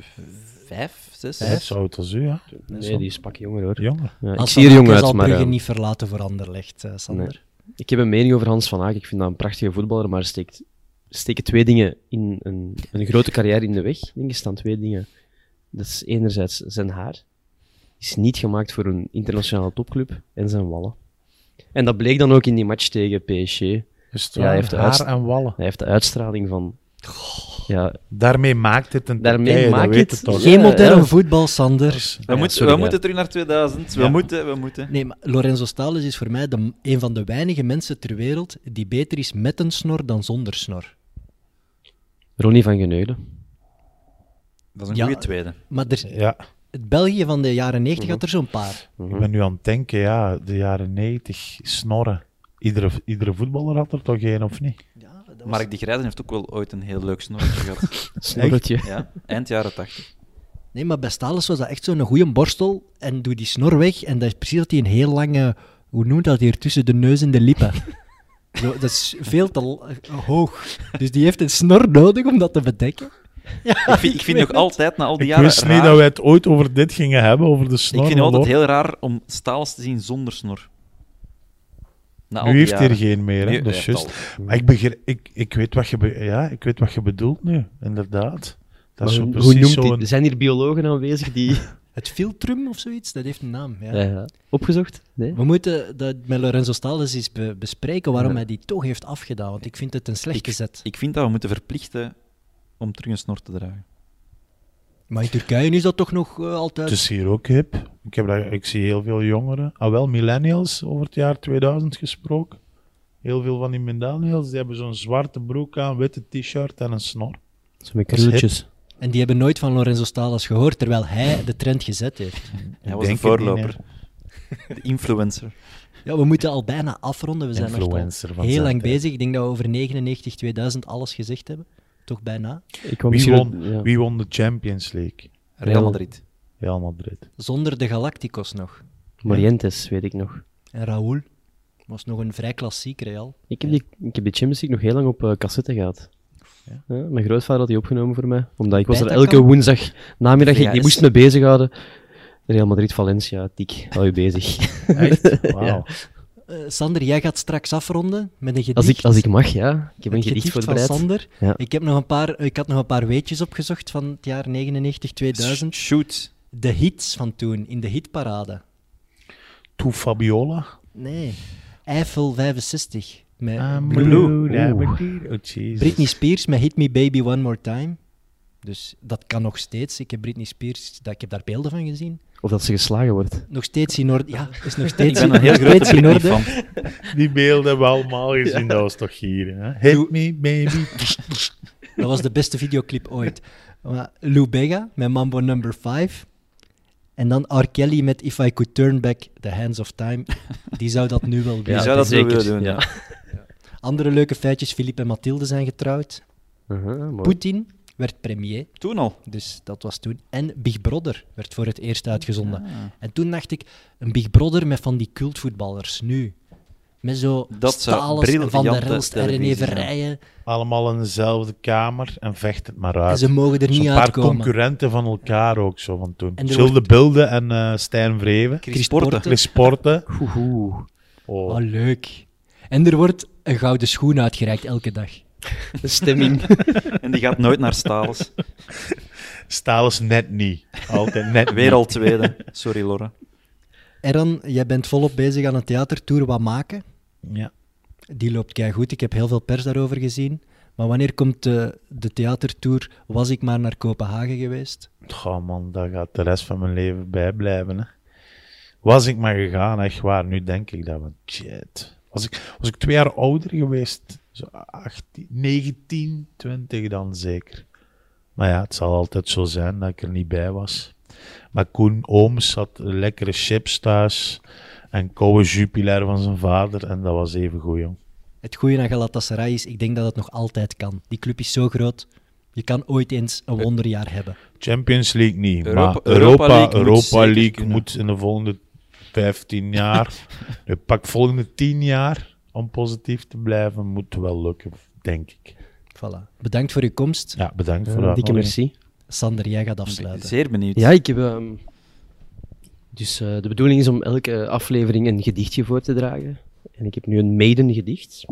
F: Vijf, zes?
D: Net zo oud als u, ja?
E: Nee, die is pak jonger hoor.
D: Jonger.
E: Ja, ik
C: Hans
E: zie
C: van
E: er jong
C: Aken
E: uit,
C: zal
E: maar
C: Brugge
E: eh,
C: niet verlaten voor Anderlecht, eh, Sander.
E: ik heb een mening over Hans van Aken. Ik vind dat een prachtige voetballer, maar er steekt, steken twee dingen in een, een grote carrière in de weg. Ik denk er staan twee dingen. Dat is enerzijds zijn haar. Is niet gemaakt voor een internationale topclub. En zijn wallen. En dat bleek dan ook in die match tegen PSG.
D: Dus
E: Ja, hij heeft de
D: haar
E: uitst-
D: en wallen.
E: Hij heeft de uitstraling van... Ja,
D: Daarmee maakt het een
E: Daarmee
D: Turkije, dat
E: maakt
D: weet
E: het-
D: het toch?
E: Ja,
C: Geen modern
E: ja.
C: voetbal, Sander.
F: We,
D: Ah
E: ja,
F: moeten,
E: sorry,
F: we
E: ja.
F: moeten terug naar 2000. We
D: Ja.
F: moeten, we moeten.
C: Nee, maar Lorenzo Stalens is voor mij de, een van de weinige mensen ter wereld die beter is met een snor dan zonder snor.
E: Ronnie van Geneulen.
F: Dat is een
C: Ja.
F: goede tweede.
C: Maar er,
D: Ja,
C: het België van de jaren 90 had er zo'n paar.
E: Mhm.
D: ik ben nu aan het denken, ja, de jaren 90, snorren. Iedere, iedere voetballer had er toch één, of niet?
F: Mark de Grijzen heeft ook wel ooit een heel leuk snorretje gehad.
E: Snorretje.
F: Ja, eind jaren 80.
C: Nee, maar bij Stalens was dat echt zo'n goede borstel en doe die snor weg en dat is precies dat hij een heel lange, hoe noemt dat hier, tussen de neus en de lippen. Zo, dat is veel te l- eh, hoog. Dus die heeft een snor nodig om dat te bedekken.
F: ik vind, ik vind nog altijd na al die
D: Ik
F: jaren.
D: wist niet
F: raar-
D: dat wij het ooit over dit gingen hebben, over de
F: Ik
D: snor.
F: vind het
D: maar
F: altijd
D: hoor,
F: heel raar om Staals te zien zonder snor. Na Nou, al die
D: Nu heeft hij er
F: jaren.
D: geen meer, hè?
F: Nu-
D: dat
F: hij
D: is
F: heeft
D: juist. Maar ik, begrijp, ik, ik, weet wat je be- ja, ik weet wat je bedoelt nu, inderdaad. Dat is
E: Maar
D: zo
E: hoe- hoe
D: precies
E: noemt die-
D: zo'n...
E: Er zijn hier biologen
D: (laughs)
E: aanwezig die...
C: Het filtrum of zoiets, dat heeft een naam.
E: (laughs)
C: Ja.
E: Ja, ja. Opgezocht? Nee?
C: We moeten dat met Lorenzo Stalens eens be- bespreken waarom hij die toch heeft afgedaan, want ik vind het een slechte zet.
F: Ik vind dat we moeten verplichten om terug een snor te dragen.
C: Maar in Turkije is dat toch nog eh, altijd.
D: Het
E: Dus-
D: is hier ook hip. Ik, heb dat, ik zie heel veel jongeren, ah wel, millennials, over het jaar 2000 gesproken. Heel veel van die millennials, die hebben zo'n zwarte broek aan, witte t-shirt en een snor.
E: Zo met
D: Dat is hip.
E: krulletjes.
C: En die hebben nooit van Lorenzo Stalas gehoord, terwijl hij de trend gezet heeft.
F: Hij was de
D: denk het niet,
F: voorloper. De influencer.
C: Ja, we moeten al bijna afronden. We zijn echt
D: Influencer
C: al
D: van
C: heel
D: zijn
C: lang
D: tijd.
C: bezig. Ik denk dat we over 99, 2000 alles gezegd hebben. Toch bijna.
E: Ik kwam
D: Wie
E: hier-
D: won,
E: ja.
D: wie won de Champions League?
F: Real Madrid.
D: Real
C: (laughs)
D: Madrid.
C: Zonder de Galacticos nog.
E: Morientes, weet ik nog.
C: En Raúl was nog een vrij klassiek Real.
E: Ik heb, die, ik heb die Champions League nog heel lang op eh, cassette gehad. Ja. mijn grootvader had die opgenomen voor mij. Omdat ik was er
C: Beta
E: elke
C: kan?
E: woensdag namiddag. Ik,
F: Ja,
E: die
F: is-
E: moest me bezighouden. Real Madrid, Valencia, tik. Hou je bezig.
D: (laughs) Echt? Wauw.
C: Eh, Sander, jij gaat straks afronden met een gedicht.
E: Als ik, als ik mag, ja. Ik heb een
C: Het
E: gedicht
C: van
E: voorbereid.
C: Sander.
E: Ja.
C: Ik, heb nog een paar, ik had nog een paar weetjes opgezocht van het jaar 99, 2000.
F: Shoot.
C: de hits van toen in de hitparade.
D: Toe Fabiola.
C: Nee. Eiffel 65
F: Ah,
C: met
D: I'm
C: Blue.
D: blue.
E: Oeh.
D: Aberdeen. Oh, Jesus.
C: Britney Spears met Hit Me Baby One More Time. Dus dat kan nog steeds. Ik heb Britney Spears, dat, ik heb daar beelden van gezien.
E: Of dat ze geslagen wordt.
C: Nog steeds in orde. Ja,
F: (laughs)
C: is nog
F: Ik
C: steeds,
F: ben een heel
C: nog steeds
F: grote
C: in
F: Britney
C: orde.
F: fan.
D: Die beelden hebben we allemaal gezien, dat was toch hier. Hè? Hit me, baby.
C: Dat was de beste videoclip ooit. Maar Lou Bega met Mambo Number 5. En dan R. Kelly met If I Could Turn Back the Hands of Time. Die zou dat
F: (laughs)
C: nu wel
F: Die
C: willen.
E: Ja,
F: zou dat
E: zeker,
F: zeker willen doen.
E: ja.
F: Ja.
C: Andere leuke feitjes. Filip en Mathilde zijn getrouwd. Poetin werd premier.
F: Toen al.
C: Dus dat was toen. En Big Brother werd voor het eerst uitgezonden. En toen dacht ik, een Big Brother met van die cultvoetballers nu. Met zo
F: Dat zou
C: Stalens en Van der
F: briljante
C: Elst en René
F: televisie zijn.
C: Verrijen.
D: Allemaal in dezelfde kamer en vecht het maar
C: En
D: uit.
C: ze mogen er
D: Zo'n
C: niet
D: paar
C: uitkomen.
D: concurrenten van elkaar ook zo van toen.
C: En er
D: Gilles
C: wordt-
D: de Bilde en eh, Stijn Vreven.
F: Chris Porter.
D: Chris Porte.
C: Oh.
D: Oh.
C: leuk. En er wordt een gouden schoen uitgereikt elke dag.
E: De stemming.
F: En die gaat nooit naar Stales.
D: Stalis net niet.
F: (laughs)
D: Altijd net niet.
F: Weer al tweede. Sorry, Lorre.
C: (laughs) Eran, jij bent volop bezig aan een theatertour Wat Maken.
D: Ja.
C: Die loopt goed. Ik heb heel veel pers daarover gezien. Maar wanneer komt de, de theatertour Was ik maar naar Kopenhagen geweest?
D: Goh man, daar gaat de rest van mijn leven bij blijven. Hè. Was ik maar gegaan, echt waar. Nu denk ik dat, want shit. Was ik, was ik twee jaar ouder geweest, zo 18, 19, 20 dan zeker. Maar ja, het zal altijd zo zijn dat ik er niet bij was. Maar Koen Ooms had lekkere chips thuis en koude Jupiler van zijn vader en dat was even goed, jong.
C: Het goede aan Galatasaray is, ik denk dat het nog altijd kan. Die club is zo groot. Je kan ooit eens een wonderjaar hebben.
D: Champions League niet,
F: Europa-
D: maar Europa,
F: Europa
D: Europa
F: League
D: League,
F: moet zeker kunnen.
D: moet in de volgende
F: (laughs)
D: 15 jaar, de pak volgende 10 jaar, om positief te blijven, moet wel lukken, denk ik.
C: Voilà. Bedankt voor uw komst.
D: Ja, bedankt voor
E: Eh,
D: dat.
E: Dikke merci.
C: Sander, jij gaat
F: Ik ben
C: afsluiten.
F: Zeer benieuwd.
E: Ja, ik heb... ehm, dus eh, de bedoeling is om elke aflevering een gedichtje voor te dragen. En ik heb nu een maiden gedicht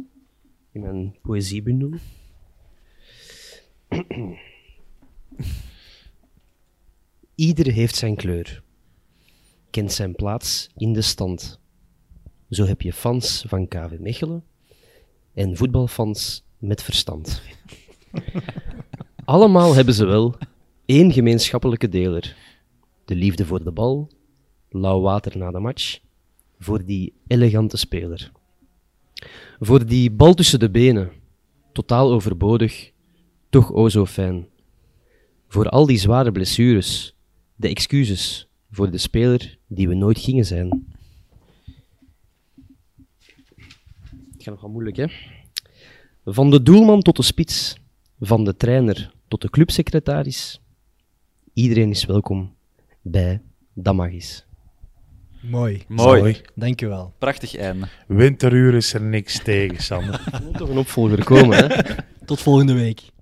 E: in mijn poëziebundel. (clears throat) Ieder heeft zijn kleur, kent zijn plaats in de stand. Zo heb je fans van KV Mechelen en voetbalfans met verstand. Allemaal hebben ze wel één gemeenschappelijke deler. De liefde voor de bal, lauw water na de match, voor die elegante speler. Voor die bal tussen de benen, totaal overbodig, toch o zo fijn. Voor al die zware blessures, de excuses voor de speler die we nooit gingen zijn. Het gaat nogal moeilijk, hè? Van de doelman tot de spits, van de trainer tot de clubsecretaris. Iedereen is welkom bij Damagis.
C: Mooi.
F: Mooi.
C: Dankjewel.
F: Prachtig einde.
D: Winteruur is er niks tegen, Sander.
E: Er moet toch een opvolger komen, hè?
C: Tot volgende week.